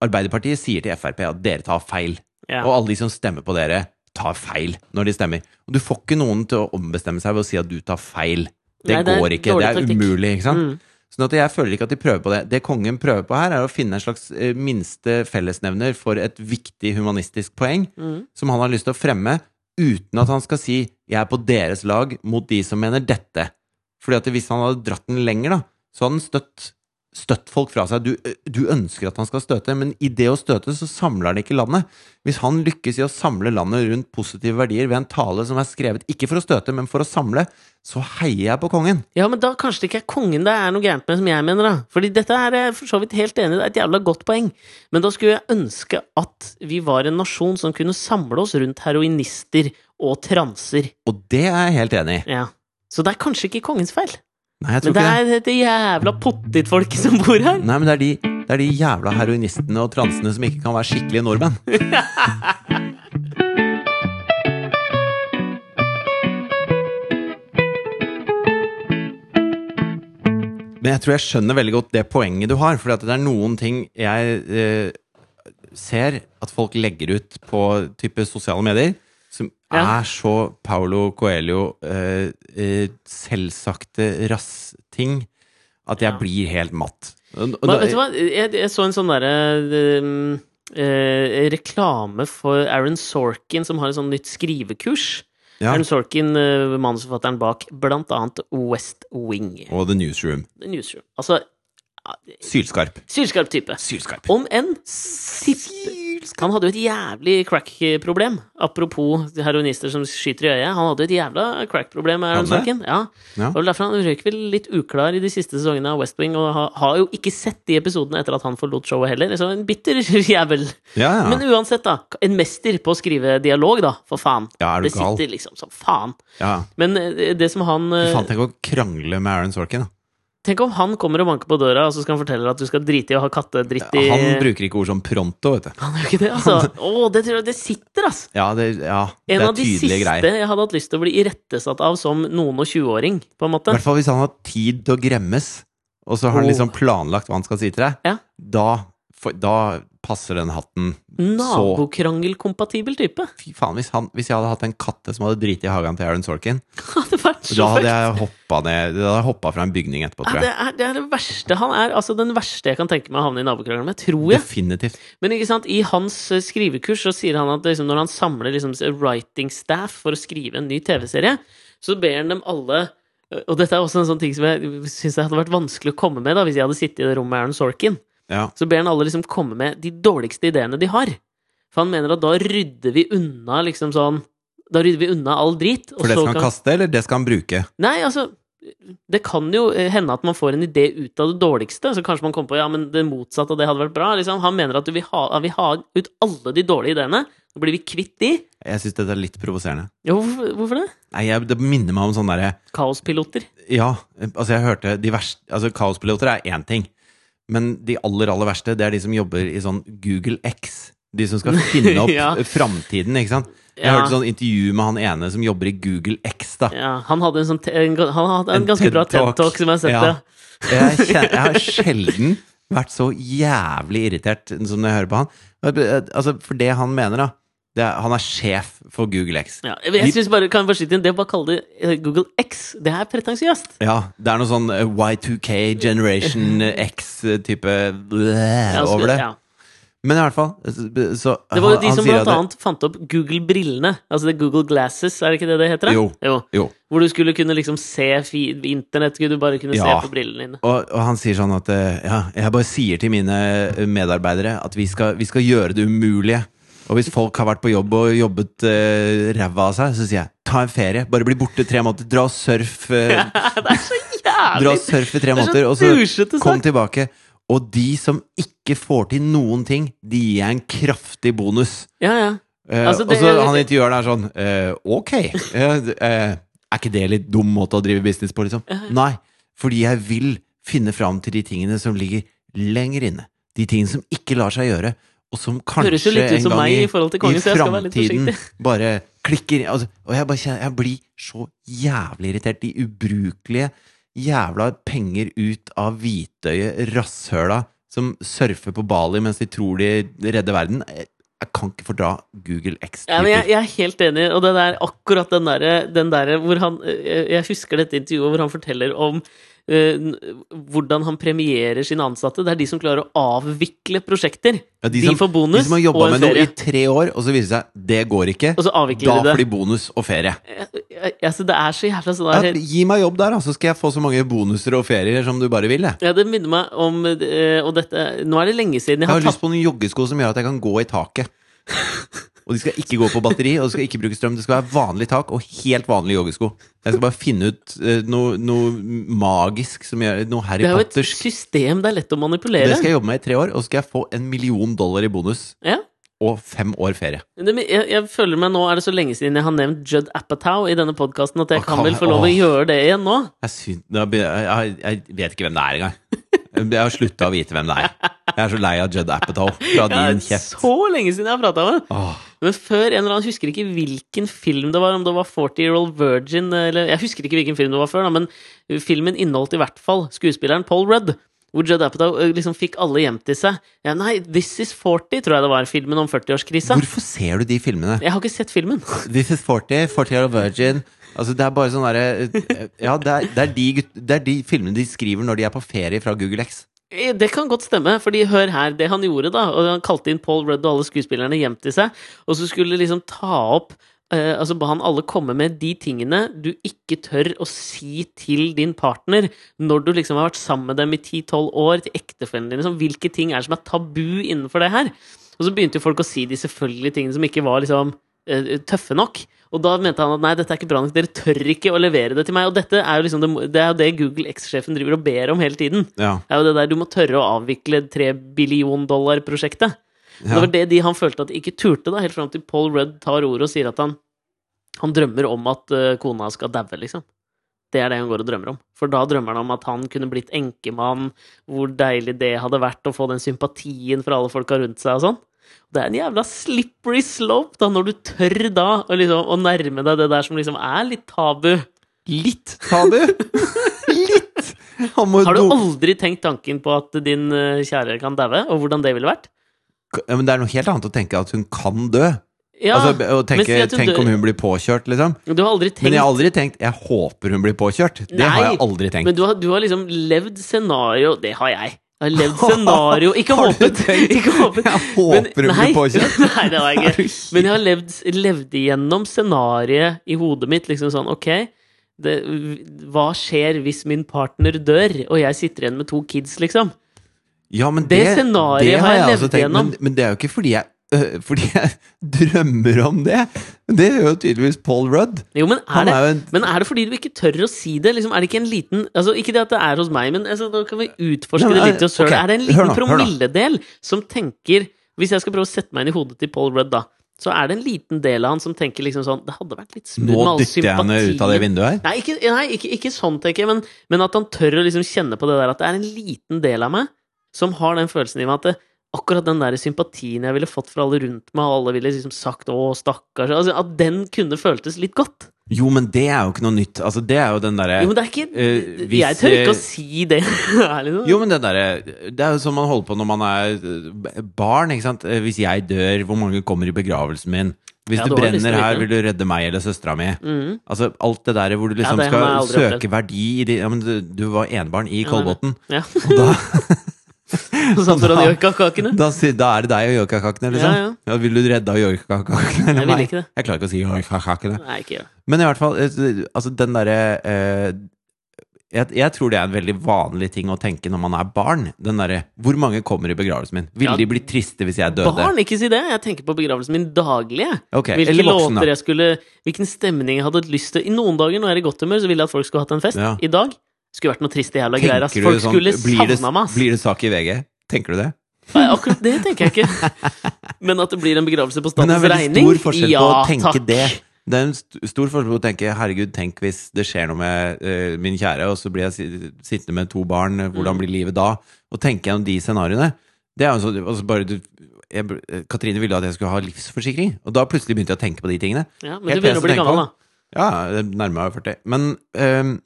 S1: Arbeiderpartiet sier til Frp at dere tar feil.
S2: Ja.
S1: Og alle de som stemmer på dere, tar feil når de stemmer. Og du får ikke noen til å ombestemme seg ved å si at du tar feil. Det
S2: Nei, det er
S1: går ikke. Det
S2: dårlig
S1: er
S2: taktikk.
S1: umulig. ikke sant?
S2: Mm.
S1: Sånn at jeg føler ikke at de prøver på det. Det kongen prøver på her, er å finne en slags eh, minste fellesnevner for et viktig humanistisk poeng
S2: Mm.
S1: som han har lyst til å fremme, uten at han skal si 'jeg er på deres lag mot de som mener dette'. Fordi at hvis han hadde dratt den lenger, da, så hadde han støtt, støtt folk fra seg. Du, eh, du ønsker at han skal støte, men i det å støte, så samler han ikke landet. Hvis han lykkes i å samle landet rundt positive verdier ved en tale som er skrevet ikke for å støte, men for å samle, så heier jeg på kongen.
S2: ja, men da kanskje det ikke er kongen det er noe gærent med, som jeg mener, da. Fordi dette er jeg for så vidt helt enig i, det er et jævla godt poeng. Men da skulle jeg ønske at vi var en nasjon som kunne samle oss rundt heroinister og transer.
S1: Og det er jeg helt enig i.
S2: Ja. Så det er kanskje ikke kongens feil.
S1: Nei, jeg tror
S2: Men det
S1: ikke det.
S2: er dette jævla pottitfolket som bor her.
S1: Nei, men det er, de, det er de jævla heroinistene og transene som ikke kan være skikkelige nordmenn. Men jeg tror jeg skjønner veldig godt det poenget du har, for det er noen ting jeg eh, ser at folk legger ut på type sosiale medier, som
S2: Ja.
S1: er så Paulo Coelho eh, eh, selvsagte rass-ting at jeg
S2: Ja.
S1: blir helt matt. Og, og
S2: Men,
S1: da-
S2: vet du hva? Jeg, jeg så en sånn derre um, eh, reklame for Aaron Sorkin, som har et sånt nytt skrivekurs.
S1: ja.
S2: Aaron Sorkin, eh, manusforfatteren bak blant annet West Wing.
S1: og The Newsroom.
S2: Newsroom. Altså
S1: Sylskarp.
S2: sylskarp type.
S1: Sylskarp.
S2: Om enn tipp- Han hadde jo et jævlig crack-problem. Apropos heroinister som skyter i øyet. Han hadde jo et jævla crack-problem.
S1: Hadde
S2: Aaron Sorkin. Ja.
S1: Ja.
S2: Det var vel derfor han røyk vel litt uklar i de siste sesongene av West Wing, og har, har jo ikke sett de episodene etter at han forlot showet heller. Så en bitter jævel.
S1: Ja, ja.
S2: Men uansett, da. En mester på å skrive dialog, da. For faen.
S1: ja, er du
S2: Det
S1: gal?
S2: sitter liksom som faen.
S1: Ja.
S2: Men eh, det som han
S1: Fy
S2: eh,
S1: faen, tenk å krangle med Aaron Sorkin. da.
S2: Tenk om han kommer og banker på døra, og så skal han fortelle at du skal drite i å ha kattedritt i
S1: Han bruker ikke ord som pronto, vet du.
S2: Han gjør ikke det, altså. Å, det tror jeg det sitter, ass.
S1: Ja, det, ja, det
S2: En
S1: er
S2: av de siste
S1: tydelige greier.
S2: jeg hadde hatt lyst til å bli irettesatt av som noen og 20-åring, på
S1: I
S2: en måte.
S1: hvert fall hvis han har tid til å gremmes, og så har han
S2: Oh.
S1: liksom planlagt hva han skal si til deg.
S2: Ja.
S1: Da, for, da passer den hatten.
S2: Nabokrangelkompatibel type.
S1: Fy faen, hvis, han, hvis jeg hadde hatt en katte som hadde driti i hagen til Aaron Sorkin,
S2: Hadde vært så
S1: da hadde
S2: fucked.
S1: jeg hoppa ned Da hadde jeg hoppa fra en bygning etterpå,
S2: Ja,
S1: tror
S2: det,
S1: jeg.
S2: er, det er det verste. Han er altså den verste jeg kan tenke meg å havne i nabokrangel med, tror jeg.
S1: Definitivt.
S2: Men ikke sant, i hans eh, skrivekurs så sier han at liksom, når han samler liksom, writing staff for å skrive en ny TV-serie, så ber han dem alle Og dette er også en sånn ting som jeg syns hadde vært vanskelig å komme med da, hvis jeg hadde sittet i det rommet med Aaron Sorkin.
S1: Ja.
S2: så ber han alle liksom komme med de dårligste ideene de har. For han mener at da rydder vi unna liksom sånn Da rydder vi unna all drit. og
S1: For det
S2: så
S1: skal han
S2: kan-
S1: kaste, eller det skal han bruke?
S2: Nei, altså Det kan jo eh, hende at man får en idé ut av det dårligste, så kanskje man kommer på ja, men det motsatte av det hadde vært bra. Liksom. Han mener at du vil ha, vil ha ut alle de dårlige ideene, Nå blir vi kvitt de.
S1: Jeg syns dette er litt provoserende.
S2: Jo, hvorfor, hvorfor det?
S1: Nei, jeg, Det minner meg om sånn derre
S2: Kaospiloter.
S1: Ja, altså jeg hørte de verste Altså kaospiloter er én ting, men de aller, aller verste, det er de som jobber i sånn Google X. De som skal finne opp
S2: Ja.
S1: framtiden, ikke sant. Jeg
S2: Ja.
S1: hørte sånn intervju med han ene som jobber i Google X, da.
S2: Ja, han hadde en, sånn te en, han hadde en,
S1: En
S2: ganske bra
S1: TED-talk.
S2: TED-talk som jeg har sett.
S1: Ja.
S2: Ja.
S1: Jeg, kjen- jeg har sjelden vært så jævlig irritert som når jeg hører på han. Altså, for det han mener, da det er, Han er sjef for Google X.
S2: Ja. Jeg synes bare, kan jeg bare skyte inn, det å bare kalle det eh, Google X, det er pretensiøst.
S1: Ja, det er noe sånn eh, Y2K, Generation eh, X-type
S2: Ja,
S1: over det.
S2: altså, ja.
S1: Men i hvert fall så, så
S2: Det var jo
S1: han-
S2: de
S1: han
S2: som
S1: sier at
S2: blant
S1: det-
S2: annet fant opp Google-brillene. Altså det er Google Glasses, er det ikke det det heter? da?
S1: Jo. Jo.
S2: Hvor du skulle kunne liksom se fi internett, skulle du bare kunne
S1: Ja.
S2: se på brillene dine.
S1: Og, og han sier sånn at eh, ja, jeg bare sier til mine eh, medarbeidere at vi skal, vi skal gjøre det umulige. Og hvis folk har vært på jobb og jobbet eh, ræva av seg, så sier jeg ta en ferie. Bare bli borte tre måneder. Dra og surf, eh,
S2: det er så
S1: dra
S2: jævlig!
S1: og surf i tre
S2: Det er så
S1: måneder, og så
S2: dusjete sagt.
S1: kom tilbake. Og de som ikke får til noen ting, de gir jeg en kraftig bonus.
S2: Ja, ja.
S1: Eh,
S2: Altså,
S1: og
S2: det-
S1: så han intervjueren er sånn eh, Ok, eh, d- eh, er ikke det litt dum måte å drive business på, liksom? Nei, fordi jeg vil finne fram til de tingene som ligger lenger inne. De tingene som ikke lar seg gjøre, og som
S2: Høres jo
S1: kanskje
S2: litt ut
S1: en
S2: som
S1: gang
S2: meg
S1: i,
S2: i forhold til
S1: i
S2: kongen, så jeg skal være litt
S1: framtiden
S2: forsiktig.
S1: bare klikker altså, Og jeg bare kjenner Jeg blir så jævlig irritert. De ubrukelige jævla penger ut av hvitøyet, rasshøla, som surfer på Bali mens de tror de redder verden. Jeg, jeg kan ikke fordra Google X.
S2: Ja, men jeg, jeg er helt enig, og det der, akkurat den derre den derre hvor han eh, Jeg husker dette intervjuet hvor han forteller om eh, n- hvordan han premierer sine ansatte. Det er de som klarer å avvikle prosjekter.
S1: Ja,
S2: de får bonus
S1: de som har
S2: og
S1: jobba
S2: en
S1: med noe
S2: ferie.
S1: i tre år, og så viser det seg det går ikke.
S2: Og så
S1: Da
S2: avvikler de
S1: får
S2: det.
S1: de bonus og ferie.
S2: Jeg- jeg- Altså, det er så jævla sånn
S1: Ja,
S2: der,
S1: gi meg jobb der, da, så skal jeg få så mange bonuser og ferier som du bare vil. Jeg,
S2: ja, Det minner meg om eh, Og dette Nå er det lenge siden jeg
S1: jeg
S2: har
S1: har
S2: tatt
S1: lyst på noen joggesko som gjør at jeg kan gå i taket. Og de skal ikke gå på batteri, og de skal ikke bruke strøm. Det skal være vanlig tak og helt vanlige joggesko. Jeg skal bare finne ut eh, noe, noe magisk som gjør Noe Harry
S2: Det er jo et
S1: Pottersk.
S2: system det er lett
S1: Det
S2: å manipulere.
S1: skal jeg jobbe med i tre år, og så skal jeg få en million dollar i bonus
S2: Ja.
S1: og fem år ferie.
S2: Men det- Jeg, jeg føler meg nå er det så lenge siden jeg har nevnt Judd Apatow i denne podkasten, at jeg
S1: Å,
S2: kan
S1: kan
S2: vel
S1: jeg-
S2: få lov å
S1: åh.
S2: gjøre det igjen nå.
S1: Jeg, syn- da be- jeg, jeg, jeg vet ikke hvem det er engang. Jeg har slutta å vite hvem det er. Jeg er så lei av Judd Apatow fra
S2: Ja,
S1: din
S2: det er
S1: kjeft.
S2: så lenge siden jeg har prata med ham!
S1: Åh,
S2: Men før en eller annen husker ikke hvilken film det var, om det var 40 Year Old Virgin eller Jeg husker ikke hvilken film det var før, da, men filmen inneholdt i hvert fall skuespilleren Paul Rudd. Hvor Judd Apatow eh, liksom fikk alle hjem til seg. Ja, nei, This Is 40, tror jeg det var. Filmen om 40-årskrisa.
S1: hvorfor ser du de filmene?
S2: Jeg har ikke sett filmen.
S1: This is 40, 40 year old virgin. Altså, det er bare sånn derre Ja, det er, det, er de, gutt- det er de filmene de skriver når de er på ferie fra Google X.
S2: Eh, Det kan godt stemme, fordi hør her, det han gjorde da og Han kalte inn Paul Rudd og alle skuespillerne hjem til seg, og så skulle liksom ta opp eh, Altså ba han alle komme med de tingene du ikke tør å si til din partner når du liksom har vært sammen med dem i 10-12 år, til ektefellen din liksom, Hvilke ting er det som er tabu innenfor det her? Og så begynte jo folk å si de selvfølgelige tingene som ikke var liksom eh, tøffe nok. Og da mente han at nei, dette er ikke bra nok, dere tør ikke å levere det til meg. Og dette er jo liksom det, det, er jo det Google X-sjefen driver og ber om hele tiden
S1: Ja.
S2: er jo det der du må tørre å avvikle 3 billion dollar-prosjektet.
S1: Ja.
S2: Det var det de han følte at de ikke turte, da, helt fram til Paul Rudd tar ordet og sier at han, han drømmer om at eh, kona skal daue, liksom. Det er det han går og drømmer om. For da drømmer han om at han kunne blitt enkemann, hvor deilig det hadde vært å få den sympatien fra alle folka rundt seg og sånn. Det er en jævla slippery slope, da, når du tør da å, liksom, å nærme deg det der som liksom er litt tabu.
S1: Litt tabu! Litt! Han må
S2: Har du
S1: do-
S2: aldri tenkt tanken på at din eh, kjære kan daue, og hvordan det ville vært?
S1: ja, men det er noe helt annet å tenke at hun kan dø.
S2: Ja,
S1: altså, å
S2: men
S1: tenke,
S2: si at hun
S1: tenk
S2: dør-
S1: om hun blir påkjørt, liksom.
S2: Du har aldri tenkt
S1: Men jeg har aldri tenkt Jeg håper hun blir påkjørt. Det har
S2: Nei,
S1: jeg aldri tenkt.
S2: Men du har, du har liksom levd scenario Det har jeg. Jeg har levd scenario Ikke
S1: Har du
S2: håpet!
S1: tenkt?
S2: Ikke håpet.
S1: Jeg håper hun blir
S2: nei,
S1: påkjørt.
S2: Nei, det har jeg
S1: Er du
S2: ikke. Men jeg har levd, levd igjennom scenarioet i hodet mitt. Liksom sånn, ok det, Hva skjer hvis min partner dør, og jeg sitter igjen med to kids, liksom?
S1: Ja, men
S2: Det scenariet har jeg levd
S1: men,
S2: gjennom.
S1: men det er jo ikke fordi jeg, øh, fordi jeg drømmer om det. Men Det gjør jo tydeligvis Paul Rudd.
S2: Jo, men
S1: Han
S2: er, det,
S1: er jo en-
S2: men er det fordi du ikke tør å si det? Liksom, er det ikke en liten altså, Ikke det at det er hos meg, men altså, nå kan vi utforske
S1: Nei,
S2: det
S1: nei,
S2: litt. i oss selv.
S1: ok,
S2: Er det
S1: hør
S2: en liten
S1: nå, hør nå.
S2: promilledel som tenker Hvis jeg skal prøve å sette meg inn i hodet til Paul Rudd, da, så er det en liten del av han som tenker liksom sånn Det hadde vært litt smooth
S1: Nå
S2: med all
S1: dytter jeg henne
S2: sympati.
S1: ut av det vinduet her.
S2: Nei, ikke, nei ikke, ikke sånn, tenker jeg, men, men at han tør å liksom kjenne på det der at det er en liten del av meg som har den følelsen i meg at det, akkurat den der sympatien jeg ville fått fra alle rundt meg, og alle ville liksom sagt 'å, stakkars', altså, at den kunne føltes litt godt.
S1: Jo, men det er jo ikke noe nytt. Altså, det er jo den derre
S2: Jo, men det er ikke
S1: eh, hvis-
S2: Jeg tør ikke å si det. ærlig talt.
S1: Jo, men det derre Det er jo sånn man holder på når man er eh, barn, ikke sant. Eh, Hvis jeg dør, hvor mange kommer i begravelsen min? Hvis
S2: Ja,
S1: du
S2: det var liksom
S1: brenner her,
S2: ikke-
S1: vil du redde meg eller søstera mi?
S2: Mhm.
S1: Altså, alt det der hvor du liksom
S2: det har jeg
S1: skal
S2: aldri
S1: søke verdi i de, ja, men du, du var enebarn i Kolbotn.
S2: Ja.
S1: Og da,
S2: Sånn for
S1: da-
S2: kakene.
S1: da, si- da er det deg og joikakakene, liksom.
S2: Ja,
S1: Ja, vil du redde av joikakakene?
S2: Jeg vil ikke det.
S1: Jeg klarer ikke å si joikakakene.
S2: Nei, ikke gjør det.
S1: Men i hvert fall, eh, altså den derre eh, jeg, jeg tror det er en veldig vanlig ting å tenke når man er barn. Den derre 'Hvor mange kommer i begravelsen min?' Ville
S2: Ja.
S1: de bli triste hvis jeg døde?
S2: Barn, ikke si det! Jeg tenker på begravelsen min daglig. jeg.
S1: Ok,
S2: Hvilke
S1: Eller voksen,
S2: låter
S1: da.
S2: jeg skulle Hvilken stemning jeg hadde lyst til. I noen dager når jeg er i godt humør, så ville jeg at folk skulle hatt en fest.
S1: Ja.
S2: I dag skulle vært noe triste jævla greier. Ass.
S1: Tenker
S2: Folk
S1: du sånn,
S2: skulle
S1: blir, det,
S2: savna meg, ass.
S1: blir det sak i VG? Tenker du det?
S2: Nei, akkurat det tenker jeg ikke. Men at det blir en begravelse på
S1: Men det
S2: statens
S1: er veldig
S2: regning
S1: stor forskjell på å tenke
S2: takk.
S1: det. Det er en st stor forskjell på å tenke 'herregud, tenk hvis det skjer noe med eh, min kjære', og så blir jeg si sittende med to barn, eh, hvordan
S2: Mm.
S1: blir livet da? Og tenke gjennom de scenarioene. Det er jo sånn, altså bare du, jeg, br- eh, Katrine ville at jeg skulle ha livsforsikring, og da plutselig begynte jeg å tenke på de tingene.
S2: Ja, men
S1: Helt
S2: du
S1: eneste
S2: begynner å bli
S1: jeg tenker på.
S2: gammel, da.
S1: Ja, jeg nærmer meg 40. Men ehm,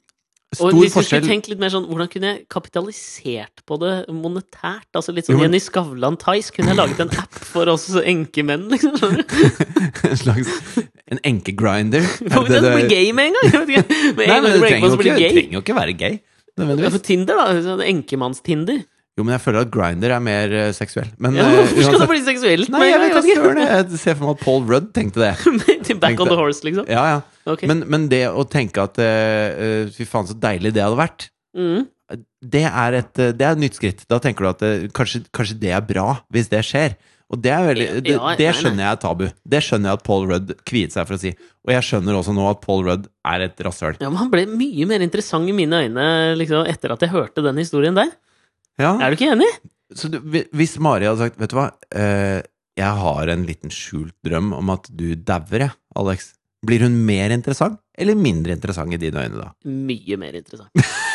S1: stor
S2: Og hvis du skulle
S1: forskjell
S2: tenkt litt mer sånn Hvordan kunne jeg kapitalisert på det monetært? Altså Litt
S1: Jo,
S2: sånn
S1: men-
S2: Jenny Skavlan-Theis. Kunne jeg laget en app for oss enkemenn, liksom? skjønner du?
S1: En slags En enkegrinder. Er
S2: Får
S1: det
S2: vi til å
S1: det-
S2: bli gay med en gang? Jeg vet ikke. Med
S1: Nei,
S2: en
S1: men
S2: gang du
S1: det
S2: breaker
S1: trenger
S2: på, så
S1: jo
S2: blir
S1: ikke,
S2: du gay.
S1: trenger jo ikke være gay.
S2: Ja,
S1: Nødvendigvis.
S2: for Tinder, da. sånn Enkemannstinder.
S1: Jo, men jeg føler at Grinder er mer eh, seksuell. Men
S2: Ja,
S1: eh,
S2: hvorfor skal
S1: uansett-
S2: det bli seksuelt?
S1: Nei, jeg vet da
S2: ikke.
S1: søren. Jeg ser for meg at Paul Rudd tenkte det.
S2: Til back on the horse, liksom.
S1: Ja, ja.
S2: Ok.
S1: Men, men det å tenke at eh, eh, fy faen, så deilig det hadde vært,
S2: Mm.
S1: det er et, eh, det er et nytt skritt. Da tenker du at eh, kanskje, kanskje det er bra, hvis det skjer. Og det, er veldig,
S2: Ja,
S1: det,
S2: ja,
S1: det
S2: nei,
S1: skjønner jeg er tabu. Det skjønner jeg at Paul Rudd kviet seg for å si. Og jeg skjønner også nå at Paul Rudd er et rasshøl.
S2: Ja, men han ble mye mer interessant i mine øyne liksom, etter at jeg hørte den historien der.
S1: Ja.
S2: Er du ikke enig?
S1: Så du, hvi- hvis Mari hadde sagt Vet du hva, eh, jeg har en liten skjult drøm om at du dauer, jeg, Alex. Blir hun mer interessant eller mindre interessant i dine øyne da?
S2: Mye mer interessant.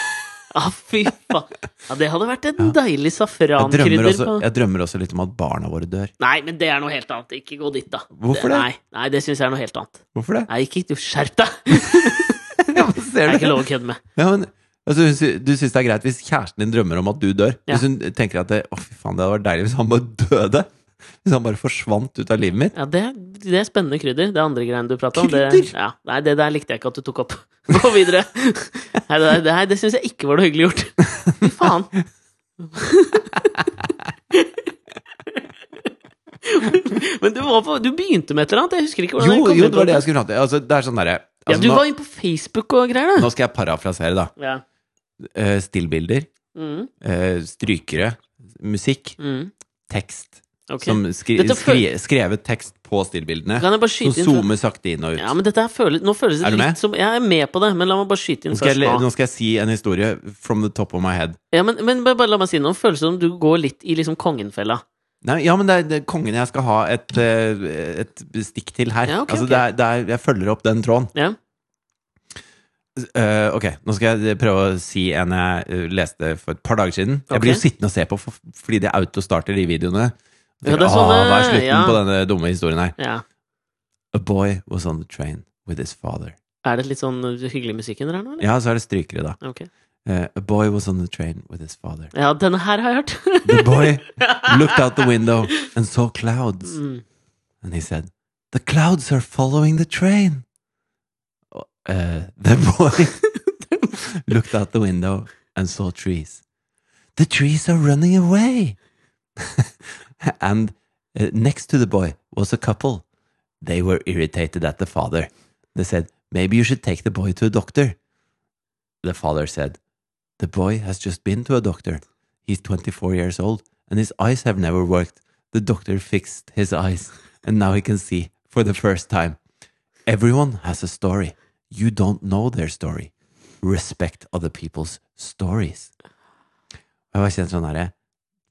S2: Ah, fy faen. Ja, det hadde vært en deilig
S1: Jeg drømmer,
S2: safrankrydder på
S1: også, jeg drømmer også litt om at barna våre dør.
S2: Nei, men det er noe helt annet. Ikke gå dit, da.
S1: Hvorfor det?
S2: Nei, nei det syns jeg er noe helt annet.
S1: Hvorfor det?
S2: Nei, ikke du Skjerp deg!
S1: Ja, hva
S2: Det
S1: ser
S2: er ikke
S1: du?
S2: lov å kødde med.
S1: Ja, men, altså, hun sy- du syns det er greit hvis kjæresten din drømmer om at du dør?
S2: Ja.
S1: Hvis hun tenker at det, å fy faen, det hadde vært deilig hvis han bare døde? Hvis han bare forsvant ut av livet mitt?
S2: Ja, det, det er spennende krydder. Det andre greiene du prata om. Det,
S1: Krydder?
S2: ja, nei, det der likte jeg ikke at du tok opp. Gå videre. Nei, det, der- det, her- det syns jeg ikke var noe hyggelig gjort. Fy faen. Men du, var på, du begynte med et eller annet. Jeg husker ikke hvordan
S1: Jo,
S2: kom
S1: jo,
S2: inn
S1: det
S2: på
S1: var det jeg skulle fram til. Altså, det er sånn derre
S2: Ja,
S1: altså,
S2: du
S1: nå-
S2: var inne på Facebook og greier, da.
S1: Nå skal jeg parafrasere, da.
S2: Ja.
S1: Eh, Stillbilder,
S2: Mm,
S1: eh, strykere, musikk,
S2: mm,
S1: tekst.
S2: ok.
S1: Som skri
S2: Dette
S1: skri skrevet tekst på stillbildene.
S2: Kan jeg bare
S1: Som
S2: skyte inn fra-
S1: zoomer sakte inn og ut.
S2: Ja, men dette her føles, Nå føles
S1: Er
S2: det
S1: du
S2: litt
S1: med?
S2: som Jeg er med på det, men la meg bare skyte inn
S1: nå, skal
S2: først
S1: jeg, le- nå skal jeg si en historie from the top of my head.
S2: Ja, men, men bare, bare la meg si noe. Føles det som du går litt i liksom kongenfella.
S1: Nei, ja, men det er, det er kongen jeg skal ha et, eh, et stikk til her.
S2: Ja, ok,
S1: altså,
S2: ok.
S1: Det er, det er, jeg følger opp den tråden.
S2: Ja.
S1: Eh, ok, nå skal jeg prøve å si en jeg eh, leste for et par dager siden.
S2: Ok.
S1: Jeg blir jo sittende og se på for, fordi det autostarter de videoene.
S2: Ja, det er
S1: Åh,
S2: sånne-
S1: hva er slutten
S2: ja.
S1: på denne dumme historien her?
S2: ja.
S1: A boy was on the train with his father.
S2: Er det litt sånn hyggelig musikk under her nå, eller?
S1: Ja, så er det strykere, da.
S2: Ja.
S1: Eh, a boy was on the train with his father.
S2: ja, denne her har jeg hørt.
S1: The boy looked out the window and saw clouds.
S2: mm.
S1: And he said, The clouds are following the train. Uh, the boy looked out the window and saw trees. The trees are running away. and uh, next to the boy was a couple. They were irritated at the father. They said, Maybe you should take the boy to a doctor. The father said, The boy has just been to a doctor. He's 24 years old and his eyes have never worked. The doctor fixed his eyes and now he can see for the first time. Everyone has a story. You don't know their story. Respect other people's stories. Og jeg var kjent sånn herre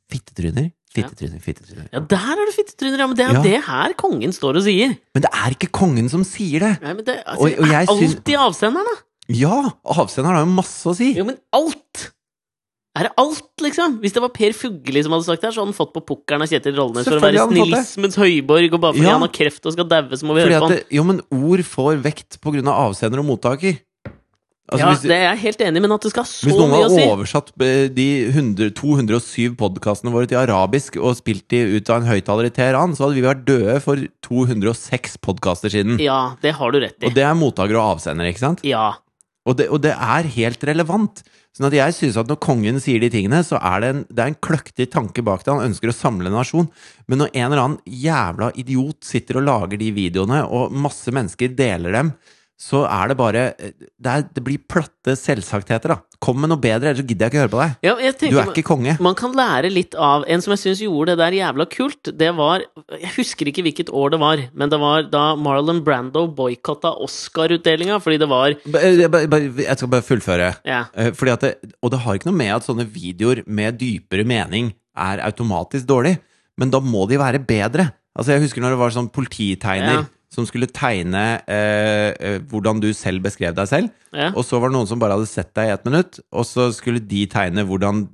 S1: Fittetryner. Fittetryner, fittetryner.
S2: Ja, der er det fittetryner! Ja, men det er
S1: Ja.
S2: det her kongen står og sier!
S1: Men det er ikke kongen som sier det!
S2: Nei, men det altså,
S1: Og- og jeg
S2: er
S1: syns-
S2: Alt i avsenderen, da!
S1: Ja! Avsenderen har jo masse å si!
S2: Jo, men alt! Er det alt, liksom? Hvis det var Per Fugelli som hadde sagt det her, så hadde han fått på pukkelen av Kjetil Rollnes for å
S1: Selvfølgelig
S2: være
S1: hadde han fått det.
S2: snillismens høyborg, og bare fordi
S1: Ja.
S2: han har kreft og skal daue, så må vi
S1: Fordi
S2: høre på
S1: at
S2: han.
S1: det, jo, men ord får vekt på grunn av avsender og mottaker. Altså,
S2: ja,
S1: hvis,
S2: det er jeg helt enig i, men at det skal ha
S1: hvis
S2: så
S1: noen
S2: mye å
S1: har
S2: si
S1: oversatt eh, de 100, 207 podkastene våre til arabisk og spilt de ut av en høyttaler i Teheran, så hadde vi vært døde for 206 podkaster siden.
S2: Ja, det har du rett i.
S1: Og det er mottaker og avsender, ikke sant?
S2: Ja.
S1: Og det, og det er helt relevant. Sånn at jeg synes at når kongen sier de tingene, så er det en, det er en kløktig tanke bak det. Han ønsker å samle en nasjon. Men når en eller annen jævla idiot sitter og lager de videoene, og masse mennesker deler dem, så er det bare Det, er, det blir platte selvsagtheter, da. Kom med noe bedre, ellers så gidder jeg ikke høre på deg.
S2: ja jeg
S1: Du
S2: tenker,
S1: er ikke konge.
S2: Man kan lære litt av en som jeg syns gjorde det der jævla kult. Det var Jeg husker ikke hvilket år det var, men det var da Marlon Brando boikotta Oscar-utdelinga fordi det var
S1: B- Jeg bare- bare- jeg skal bare fullføre.
S2: Ja.
S1: Eh, Fordi at det, og det har ikke noe med at sånne videoer med dypere mening er automatisk dårlig, men da må de være bedre. Altså Jeg husker når det var sånn polititegner
S2: Ja.
S1: som skulle tegne eh, eh, hvordan du selv beskrev deg selv,
S2: ja.
S1: og så var det noen som bare hadde sett deg i ett minutt, og så skulle de tegne hvordan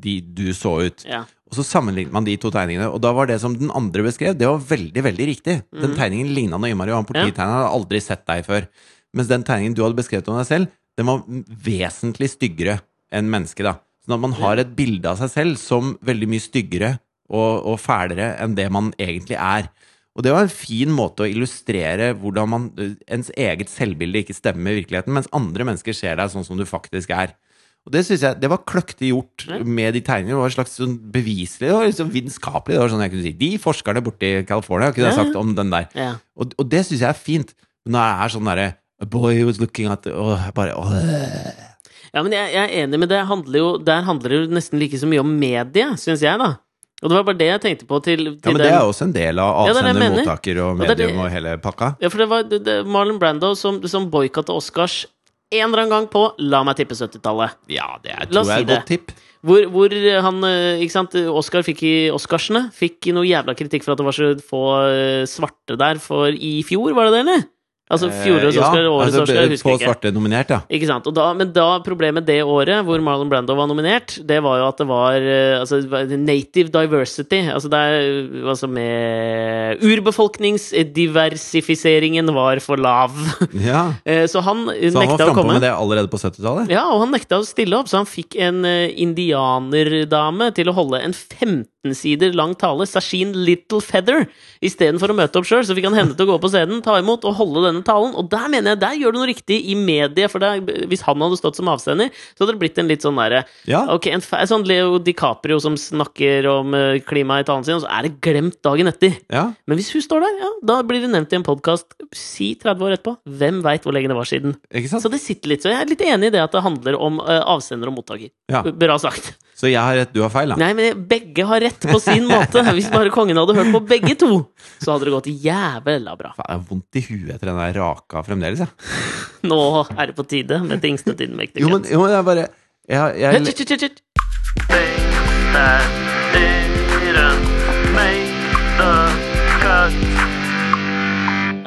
S1: de, du så ut.
S2: ja.
S1: Og så sammenlignet man de to tegningene, og da var det som den andre beskrev, det var veldig, veldig riktig. Den tegningen ligna noe innmari, og han polititegneren hadde aldri sett deg før. Mens den tegningen du hadde beskrevet om deg selv, den var vesentlig styggere enn mennesket, da. Sånn at man har et bilde av seg selv som veldig mye styggere og, og fælere enn det man egentlig er. Og det var en fin måte å illustrere hvordan man, eh, ens eget selvbilde ikke stemmer med virkeligheten, mens andre mennesker ser deg sånn som du faktisk er. Og det synes jeg, det var kløktig gjort
S2: Ja.
S1: med de tegningene. Det var slags sånn beviselig, det var liksom vitenskapelig. Det var sånn jeg kunne si. De forskerne borte i California har ikke det
S2: Ja, ja.
S1: sagt om den der.
S2: ja.
S1: Og, og det synes jeg er fint. Men Når jeg er sånn derre A boy was looking at Åh, jeg bare åh.
S2: Ja, men jeg, jeg er enig med det. Handler jo, der handler det jo nesten like så mye om mediet, syns jeg, da. Og det var bare det jeg tenkte på til,
S1: Ja,
S2: til
S1: men det er også en del av
S2: Ja, det er det jeg
S1: avsender,
S2: mener.
S1: mottaker og
S2: Og det er det-
S1: medium og hele pakka.
S2: Ja, for det var det, det, Marlon Brando som, som boikotta Oscars en eller annen gang på La meg tippe 70-tallet.
S1: Ja, det er,
S2: La
S1: tror
S2: oss
S1: jeg er
S2: si
S1: et godt tipp.
S2: Hvor, hvor han eh, Ikke sant, Oscar fikk i Oscarsene fikk noe jævla kritikk for at det var så få eh, svarte der for i fjor, var det det, eller? Altså fjorårets
S1: Eh, ja,
S2: Oscar, årets
S1: altså,
S2: Oscar, jeg husker
S1: På
S2: ikke.
S1: svarte nominert, ja.
S2: Ikke sant? Og da, men da problemet det året, hvor Marlon Brando var nominert, det var jo at det var eh, altså, det var native diversity. Altså det er eh, altså med Urbefolkningsdiversifiseringen var for lav.
S1: ja.
S2: Eh, Så han eh,
S1: Så han var
S2: nekta å
S1: frampå
S2: komme.
S1: med det allerede på 70-tallet?
S2: Ja, og han nekta å stille opp, så han fikk en eh, indianerdame til å holde en 15 sider lang tale, Sashin Little Feather, istedenfor å møte opp sjøl. Så fikk han henne til å gå på scenen, ta imot og holde denne talen. Og der mener jeg, der gjør du noe riktig i mediet, for der, hvis han hadde stått som avsender, så hadde det blitt en litt sånn derre
S1: Ja.
S2: Ok, en fe- sånn Leo DiCaprio som snakker om eh, klimaet i talen sin, og så er det glemt dagen etter.
S1: ja.
S2: Men hvis hun står der, ja, da blir det nevnt i en podkast si 30 år etterpå. Hvem veit hvor lenge det var siden?
S1: Ikke sant?
S2: Så det sitter litt, så jeg er litt enig i det at det handler om eh, avsender og mottaker.
S1: Ja.
S2: Bra sagt.
S1: Så jeg har rett, du har feil, da.
S2: Nei, men begge har rett på sin måte. Hvis bare kongen hadde hørt på begge to, så hadde det gått jævla bra.
S1: Faen, jeg har vondt i huet etter den der raka fremdeles, jeg.
S2: Nå er det på tide med tingste tiden mektige.
S1: Jo, men, jo, men jeg bare jeg, jeg,
S2: Hut, hut, hut, hut.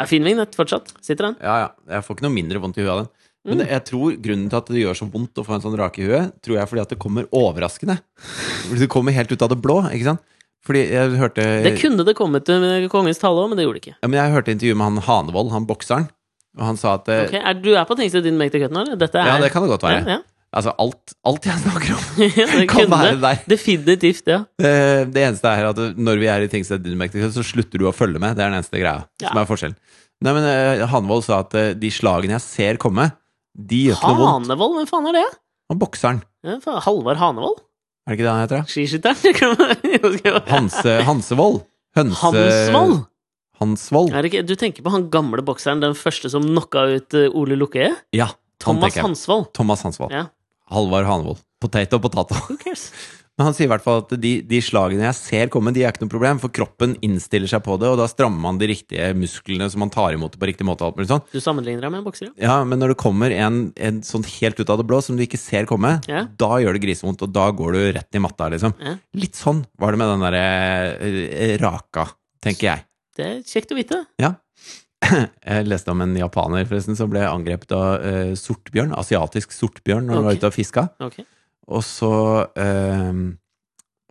S2: Er fin vignett fortsatt? Sitter den?
S1: ja, ja, jeg får ikke noe mindre vondt i huet av den. Men
S2: Mm.
S1: jeg tror grunnen til at det gjør så vondt å få en sånn rake i huet, tror jeg er fordi at det kommer overraskende. Fordi det kommer helt ut av det blå, ikke sant? Fordi jeg hørte
S2: Det kunne det kommet til med kongens tale òg, men det gjorde det ikke.
S1: ja, men Jeg hørte intervju med han Hanevold, han bokseren, og han sa at eh,
S2: Ok, er, du er på tingstedet din mektige køtten, eller? Dette er
S1: Ja, det kan det godt være.
S2: Ja, ja.
S1: Altså, alt, alt jeg snakker om,
S2: det
S1: kan være
S2: kunne
S1: der.
S2: Definitivt, ja.
S1: Eh, Det eneste er at når vi er i Tingstedt Dynamektikk, så slutter du å følge med. Det er den eneste greia
S2: Ja.
S1: som er forskjellen. Nei, men eh, Hanvold sa at eh, de slagene jeg ser komme, de gjør ikke noe vondt.
S2: Hanevold, hvem faen er det?
S1: Han bokseren,
S2: Ja, faen, Halvard Hanevold?
S1: er det ikke det han heter? da?
S2: Skiskytteren? Jeg husker jo-
S1: Hanse, Hansevold? Hønse...
S2: Hansvold?
S1: Hansvold.
S2: Er det ikke, du tenker på han gamle bokseren, den første som knocka ut eh, Ole Lukkøye?
S1: Ja, han
S2: Thomas
S1: tenker jeg.
S2: Hansvold.
S1: Thomas Hansvold.
S2: Ja.
S1: Halvard Hanvold. Potato, potato.
S2: Who cares?
S1: Men han sier i hvert fall at de, de slagene jeg ser komme, de er ikke noe problem, for kroppen innstiller seg på det, og da strammer man de riktige musklene som man tar imot det på riktig måte. og alt mulig sånn.
S2: Du sammenligner deg med en bokser, ja?
S1: Ja, Men når det kommer en, en sånn helt ut av det blå som du ikke ser komme,
S2: Ja.
S1: da gjør det grisevondt, og da går du rett i matta, liksom.
S2: Ja.
S1: Litt sånn var det med den derre raka, tenker jeg.
S2: Det er kjekt å vite.
S1: Ja. Jeg leste om en japaner forresten som ble angrepet av eh, sortbjørn, asiatisk sortbjørn, når han
S2: Ok.
S1: var ute og fiska.
S2: Ok.
S1: Og så eh,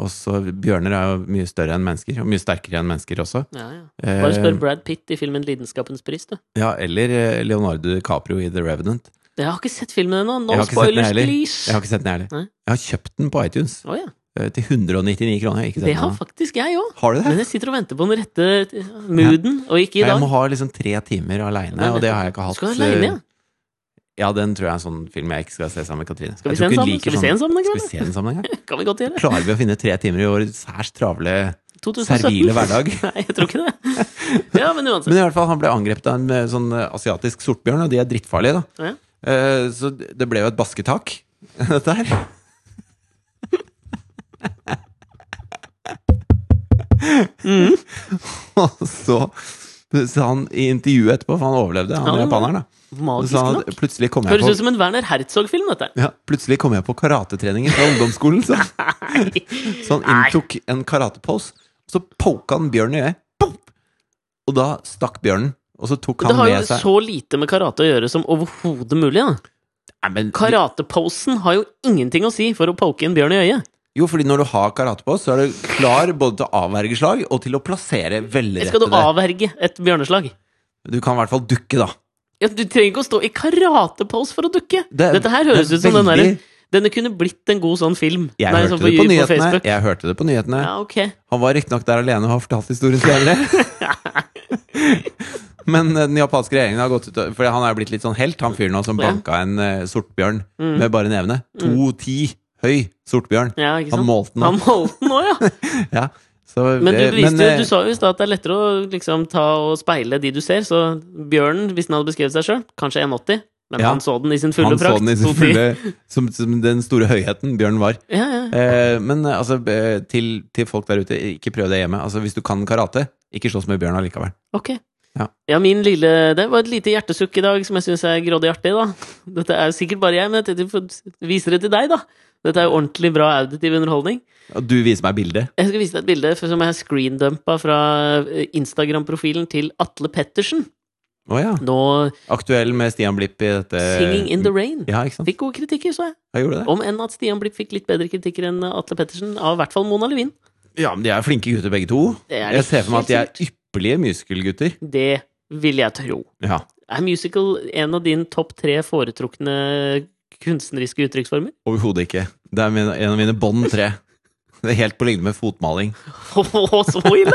S1: og så Bjørner er jo mye større enn mennesker, og mye sterkere enn mennesker også.
S2: Ja, ja.
S1: Eh,
S2: Bare spør Brad Pitt i filmen 'Lidenskapens pris', du.
S1: ja, eller eh, Leonardo DiCaprio i The Revenant.
S2: Jeg har ikke sett filmen ennå. No
S1: Jeg har ikke sett den
S2: spoilers,
S1: heller.
S2: please!
S1: Jeg har ikke sett den, jeg
S2: Nei.
S1: heller. Jeg har kjøpt den på iTunes
S2: Å ja.
S1: eh, til 199 kroner. Jeg har Ikke sett
S2: Det
S1: den
S2: har
S1: ennå.
S2: faktisk jeg òg.
S1: har du det?
S2: Men jeg sitter og venter på den rette eh, mooden, og ikke i
S1: jeg
S2: dag.
S1: må ha liksom tre timer
S2: Nei,
S1: aleine,
S2: men-
S1: og det har jeg ikke hatt. eh,
S2: Skal du alene, ja?
S1: Ja, den tror jeg er en sånn film jeg ikke skal se sammen med Katrine.
S2: Skal vi
S1: Jeg
S2: se
S1: tror
S2: den
S1: ikke hun
S2: sammen?
S1: liker
S2: Skal vi se
S1: sånn-
S2: den sammen en gang?
S1: Skal vi se den sammen en gang?
S2: da? Kan vi godt gjøre.
S1: Klarer vi å finne tre timer i vår særs travle
S2: 2017.
S1: servile hverdag?
S2: Nei, jeg tror ikke det. Ja, men uansett.
S1: Men i hvert fall, han ble angrepet av en eh, sånn eh, asiatisk sortbjørn, og de er drittfarlige, da.
S2: Ja.
S1: Eh, Så det ble jo et basketak, dette her.
S2: Mm.
S1: Og så sa han i intervjuet etterpå, for han overlevde, han
S2: Ja,
S1: japaneren, da. Så
S2: Magisk
S1: sa han
S2: nok.
S1: at plutselig kom jeg
S2: Høres
S1: på
S2: ut som en Werner Herzog-film, dette.
S1: ja, plutselig kom jeg på karatetreninger fra ungdomsskolen. Så, så han inntok en karatepose, så poka han bjørnen i øyet. Pop! Og da stakk bjørnen, og så tok
S2: Det
S1: han
S2: har jo
S1: med seg
S2: så lite med karate å gjøre som overhodet mulig. Da.
S1: Nei, men,
S2: Karateposen har jo ingenting å si for å poke en bjørn i øyet.
S1: Jo, fordi når du har karatepose, så er du klar både til å avverge slag og til å plassere
S2: Skal du
S1: velrettede
S2: avverge et bjørneslag?
S1: Du kan i hvert fall dukke, da.
S2: Ja, du trenger ikke å stå i karatepose for å dukke!
S1: Det er-
S2: Dette her høres
S1: det er
S2: ut som den derre
S1: veldig-
S2: Denne kunne blitt en god sånn film.
S1: Jeg,
S2: Nei,
S1: hørte
S2: sånn
S1: det på nyhetene,
S2: Facebook.
S1: jeg hørte det på nyhetene.
S2: Ja, ok.
S1: Han var riktignok der alene og har fortalt historien senere. Men eh, den japanske regjeringen har gått ut og- For han er blitt litt sånn helt, han fyren nå som
S2: Ja. Mm.
S1: banka en eh, sortbjørn med bare nevene. 2,10 høy sortbjørn.
S2: Ja, ikke
S1: Han
S2: sant?
S1: målte den
S2: Han
S1: opp.
S2: målte den òg, ja!
S1: Ja. Så,
S2: Men du,
S1: eh,
S2: viste,
S1: men, eh,
S2: jo, du sa jo i stad at det er lettere å liksom, ta og speile de du ser, så bjørnen, hvis den hadde beskrevet seg sjøl, kanskje 1,80, men
S1: Ja.
S2: han så den i sin fulle
S1: han så
S2: prakt.
S1: den i sin
S2: 2,10.
S1: fulle som, som den store høyheten bjørn var.
S2: Ja, ja.
S1: Eh, men eh, altså, eh, til, til folk der ute, ikke prøv det hjemme. Altså, hvis du kan karate, ikke slåss med bjørn allikevel.
S2: Ok.
S1: Ja.
S2: Ja. min lille Det var et lite hjertesukk i dag som jeg syns er grådig artig, da. Dette er jo sikkert bare jeg, men jeg tenkte jeg får vise det til deg, da. Dette er jo ordentlig bra auditiv underholdning.
S1: Og du viser meg bildet.
S2: Jeg skal vise deg et bilde som jeg har screendumpa fra eh, Instagram-profilen til Atle Pettersen.
S1: Å ja.
S2: Nå
S1: Aktuell med Stian Blipp i dette
S2: 'Singing in the Rain'.
S1: Ja, ikke sant?
S2: Fikk gode kritikker, så jeg.
S1: Jeg gjorde det.
S2: Om enn at Stian Blipp fikk litt bedre kritikker enn Atle Pettersen, av i hvert fall Mona Levin.
S1: Ja, men de er flinke gutter begge to.
S2: Det er
S1: Jeg
S2: det
S1: ser for meg at de
S2: helt
S1: er ypperlige muskelgutter.
S2: Det vil jeg tro.
S1: Ja.
S2: Er musical en av dine topp tre foretrukne kunstneriske uttrykksformer?
S1: Overhodet ikke. Det er min, en av mine bånd tre. Det er helt på linje med fotmaling.
S2: Å, så ille!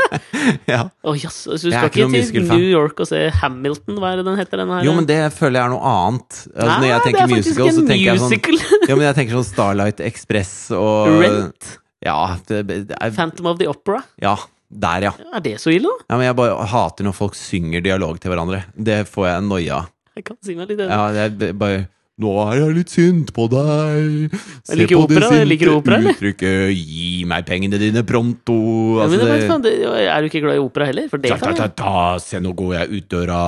S1: Ja.
S2: Å, jaså, så du
S1: Jeg er ikke
S2: skal ikke,
S1: noen
S2: til
S1: muskelfan.
S2: New York og se Hamilton, hva er det den heter? Den her?
S1: Jo, men det føler jeg er noe annet. Altså, når jeg
S2: Nei,
S1: tenker musical, så tenker jeg sånn
S2: Det er faktisk en musical!
S1: Ja, men jeg tenker sånn Starlight Express og
S2: Rent.
S1: Ja, det, det er,
S2: Phantom of the Opera.
S1: ja. Der, ja.
S2: Ja, er det så ille, da?
S1: ja. Men jeg bare hater når folk synger dialog til hverandre. Det får jeg noia av.
S2: Jeg kan si meg litt enig.
S1: Ja, jeg b- bare Nå er jeg litt sint på deg. Se
S2: Jeg liker
S1: på det
S2: opera, jeg liker opera, eller?
S1: uttrykket. Gi meg pengene dine pronto.
S2: Ja, men
S1: Altså,
S2: det, er
S1: det-
S2: faen, det, er du ikke glad i opera heller? For det
S1: ta,
S2: kan
S1: ta, ta,
S2: jeg.
S1: ta, se, nå går jeg ut døra.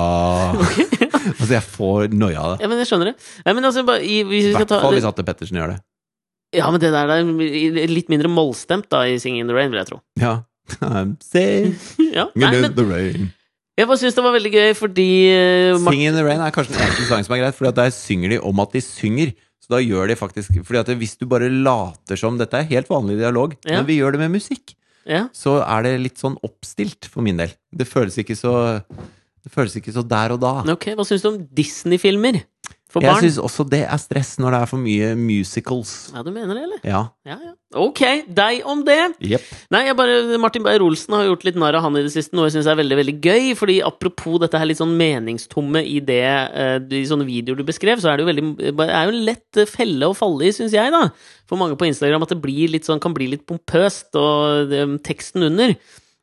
S1: altså, jeg får noia av det.
S2: Ja, men jeg skjønner det. Nei, men altså, bare, i, hvis
S1: I sånn-
S2: vi skal
S1: hvert
S2: ta
S1: fall hvis Atle Pettersen gjør det.
S2: Ja, men det der der er litt mindre mollstemt, da, i 'Singing in the Rain', vil jeg tro.
S1: Ja. I'm singing
S2: Ja. Nei,
S1: in
S2: men
S1: the rain.
S2: jeg bare syns det var veldig gøy, fordi eh, Mar-
S1: Singing in the rain er kanskje den eneste sangen som er greit, for der synger de om at de synger. Så da gjør de faktisk Fordi at hvis du bare later som Dette er helt vanlig dialog,
S2: Ja.
S1: men vi gjør det med musikk.
S2: ja.
S1: Så er det litt sånn oppstilt, for min del. Det føles ikke så Det føles ikke så der og da.
S2: Ok, hva syns du om Disney-filmer for
S1: Jeg
S2: barn?
S1: syns også det er stress når det er for mye musicals.
S2: Ja, du mener det, eller?
S1: Ja.
S2: Ja, ja. Ok, deg om det!
S1: Jepp.
S2: Nei, jeg bare, Martin Beyer-Olsen har gjort litt narr av han i det siste, noe jeg syns er veldig veldig gøy. fordi apropos dette her litt sånn meningstomme i det eh, i sånne videoer du beskrev, så er det jo veldig, det er jo en lett eh, felle å falle i, syns jeg, da. For mange på Instagram at det blir litt sånn, kan bli litt pompøst, og eh, teksten under.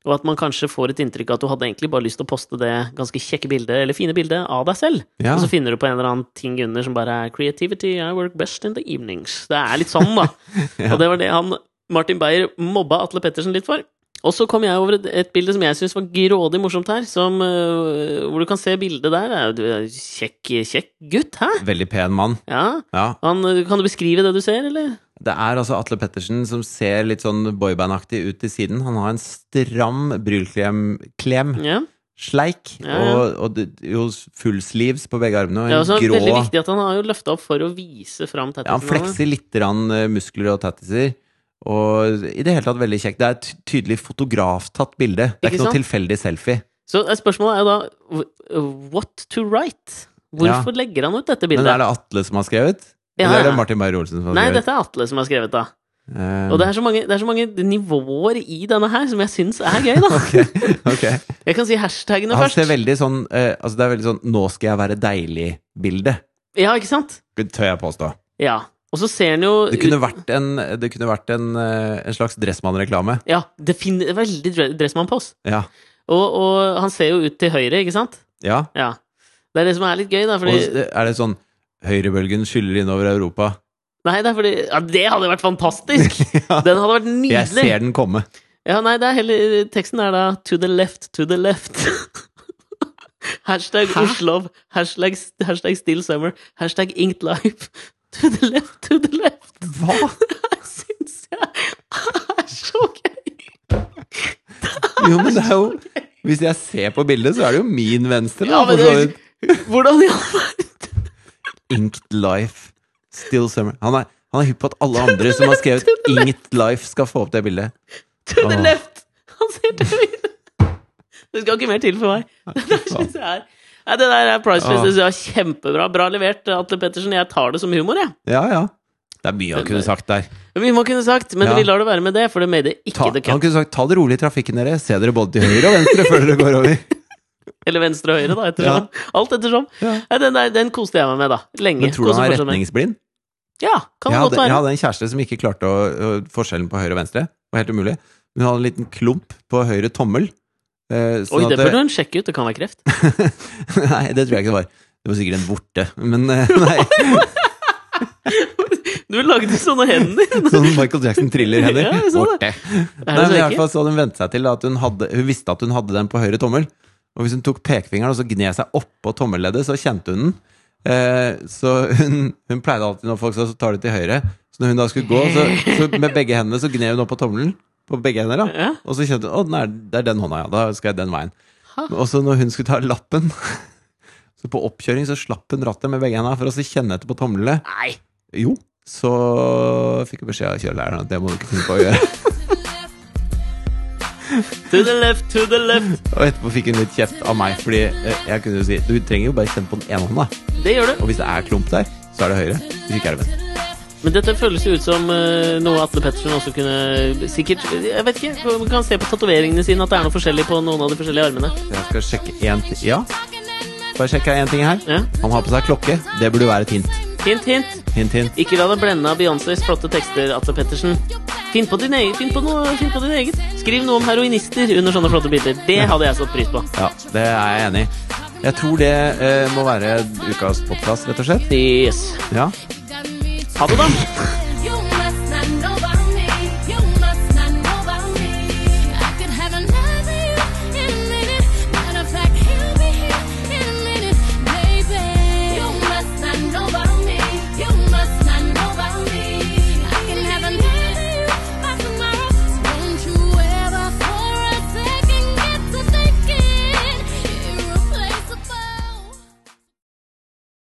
S2: Og at man kanskje får et inntrykk av at du hadde egentlig bare lyst til å poste det ganske kjekke bildet, eller fine bildet, av deg selv.
S1: Ja.
S2: Og så finner du på en eller annen ting under som bare er 'creativity, I work best in the evenings'. Det er litt sånn, da. Og det var det han Martin Beyer mobba Atle Pettersen litt for. Og så kom jeg over et, et bilde som jeg syns var grådig morsomt her, som, øh, hvor du kan se bildet der. Det er jo- Du er jo kjekk, kjekk gutt, hæ?
S1: Veldig pen mann.
S2: Ja.
S1: Ja.
S2: Han, øh, kan du beskrive det du ser, eller?
S1: Det er altså Atle Pettersen som ser litt sånn boybandaktig ut til siden. Han har en stram brylklem, klem,
S2: Ja.
S1: sleik,
S2: Ja, ja.
S1: og, og det- jo fullsleeves på begge armene, og
S2: Det er
S1: en
S2: også veldig
S1: grå
S2: viktig at han har jo løfta opp for å vise fram
S1: ja, Han
S2: tattisene.
S1: flekser litt grann, eh, muskler og tattiser. Og i det hele tatt veldig kjekt. Det er et ty- tydelig fotograftatt bilde. Det er
S2: Ikke
S1: ikke noe
S2: sant?
S1: tilfeldig selfie.
S2: så eh, spørsmålet er jo da wh- What to write? Hvorfor legger han ut dette
S1: Men er
S2: bildet?
S1: det Atle som har skrevet?
S2: Ja,
S1: Eller er
S2: ja.
S1: det Martin Beyer-Olsen som har
S2: Nei,
S1: skrevet?
S2: dette er Atle som har skrevet, da.
S1: Eh,
S2: Og det er så mange, det er så mange nivåer i denne her som jeg syns er gøy, da.
S1: Eh, ok.
S2: Jeg kan si hashtagene
S1: Han ser
S2: først.
S1: veldig sånn eh, Altså, det er veldig sånn 'nå skal jeg være deilig'-bilde,
S2: Ja, ikke sant?
S1: tør jeg påstå.
S2: Ja. Og så ser han jo
S1: Det
S2: ut
S1: kunne vært en, det kunne vært en, eh, en slags Dressmann-reklame.
S2: Ja, det finner veldig dre- Dressmann-pose.
S1: Ja.
S2: Og, og han ser jo ut til høyre, ikke sant?
S1: ja.
S2: Ja. Det er det som er litt gøy, da, fordi
S1: Og er det sånn Høyrebølgen skyller innover Europa.
S2: Nei, det er fordi Ja, det hadde vært fantastisk!
S1: Ja.
S2: Den hadde vært
S1: Jeg
S2: nydelig!
S1: ser den komme.
S2: Ja, nei, det er heller Teksten er da 'to the left, to the left'. hashtag
S1: Hæ?
S2: Oslo, hashtag, hashtag still summer, hashtag inked life. To the left, to the left.
S1: Hva?
S2: Det syns jeg er så gøy!
S1: Jo, men det er jo Hvis jeg ser på bildet, så er det jo min venstre. Da,
S2: Ja,
S1: for
S2: men
S1: så vidt.
S2: det, hvordan i all verden
S1: Inked Life. Still Summer. Han er, han er hypp på at alle andre som har skrevet Inked Life, skal få opp det bildet.
S2: To the
S1: Åh.
S2: left! Han ser til høyre. Det skal ikke mer til for meg. Det der synes jeg er Nei, det der er priceless. Det synes jeg var kjempebra. Bra levert, Atle Pettersen. Jeg tar det som humor, jeg.
S1: Ja, ja. Det er mye han
S2: eh,
S1: kunne sagt der.
S2: Vi må kunne sagt, men
S1: Ja.
S2: vi lar det være med det, for det made
S1: Ta,
S2: ikke the
S1: han
S2: cut.
S1: kunne sagt 'ta det rolig i trafikken, dere'. Se dere både til høyre og venstre før dere går over.
S2: Eller venstre og høyre, da, ettersom. Alt ettersom.
S1: Ja.
S2: Nei, den, der, den koste jeg meg med, da. Lenge.
S1: Men tror du han
S2: Koser
S1: er
S2: fortsatt meg.
S1: retningsblind?
S2: Ja,
S1: Jeg
S2: kan det godt
S1: hadde, jeg
S2: være.
S1: hadde en kjæreste som ikke klarte å, å, forskjellen på høyre og venstre. Det var helt umulig. Hun hadde en liten klump på høyre tommel. eh,
S2: Oi,
S1: sånn at
S2: det burde hun sjekke ut. Det kan være kreft.
S1: Nei, det tror jeg ikke det var. Det var sikkert en vorte. Men eh, nei,
S2: Du lagde sånne hender.
S1: sånn Michael Jackson thriller hender.
S2: Ja, jeg så
S1: Vorte.
S2: Er
S1: Nei,
S2: det
S1: men
S2: så
S1: i hvert
S2: ekkelt?
S1: fall så hadde hun vent seg til at hun, hadde, hun visste at hun hadde den på høyre tommel. Og hvis hun tok pekefingeren og så gned seg oppå tommelleddet, så kjente hun den. Eh, så hun, hun pleide alltid når folk sa så tar du til høyre. Så når hun da skulle gå, så, så med begge hendene så gned hun opp på tommelen. På begge hender, da.
S2: Ja.
S1: Og så kjente hun å, den er, det er den hånda, ja. Da skal jeg den veien.
S2: Ha.
S1: Og så når hun skulle ta lappen, så på oppkjøring så slapp hun rattet med begge hendene for å så kjenne etter på tomlene.
S2: Nei.
S1: Jo, så fikk hun beskjed av kjørelæreren at det må du ikke finne på å gjøre.
S2: To the left, to the left.
S1: Og etterpå fikk hun litt kjeft av meg, fordi eh, jeg kunne jo si du trenger jo bare kjenne på den ene hånda.
S2: Det gjør du.
S1: Og hvis det er klump der, så er det høyre. Hvis ikke er det venstre.
S2: Men dette føles jo ut som eh, noe Atle Pettersen også kunne Sikkert Jeg vet ikke. Man kan se på tatoveringene sine at det er noe forskjellig på noen av de forskjellige armene.
S1: Så Jeg skal sjekke én ting Ja, bare sjekke én ting her.
S2: Ja.
S1: Han har på seg klokke. Det burde være et hint.
S2: Hint, hint.
S1: Hint, hint.
S2: Ikke la deg blende av Beyoncés flotte tekster, Atle Pettersen. Finn på din egen. Finn på noe, finn på din eget. Skriv noe om heroinister under sånne flotte bilder. Det hadde jeg satt pris på.
S1: Ja, det er jeg enig i. Jeg tror det eh, må være ukas podkast, rett og slett.
S2: Yes.
S1: Ja.
S2: Ha det, da.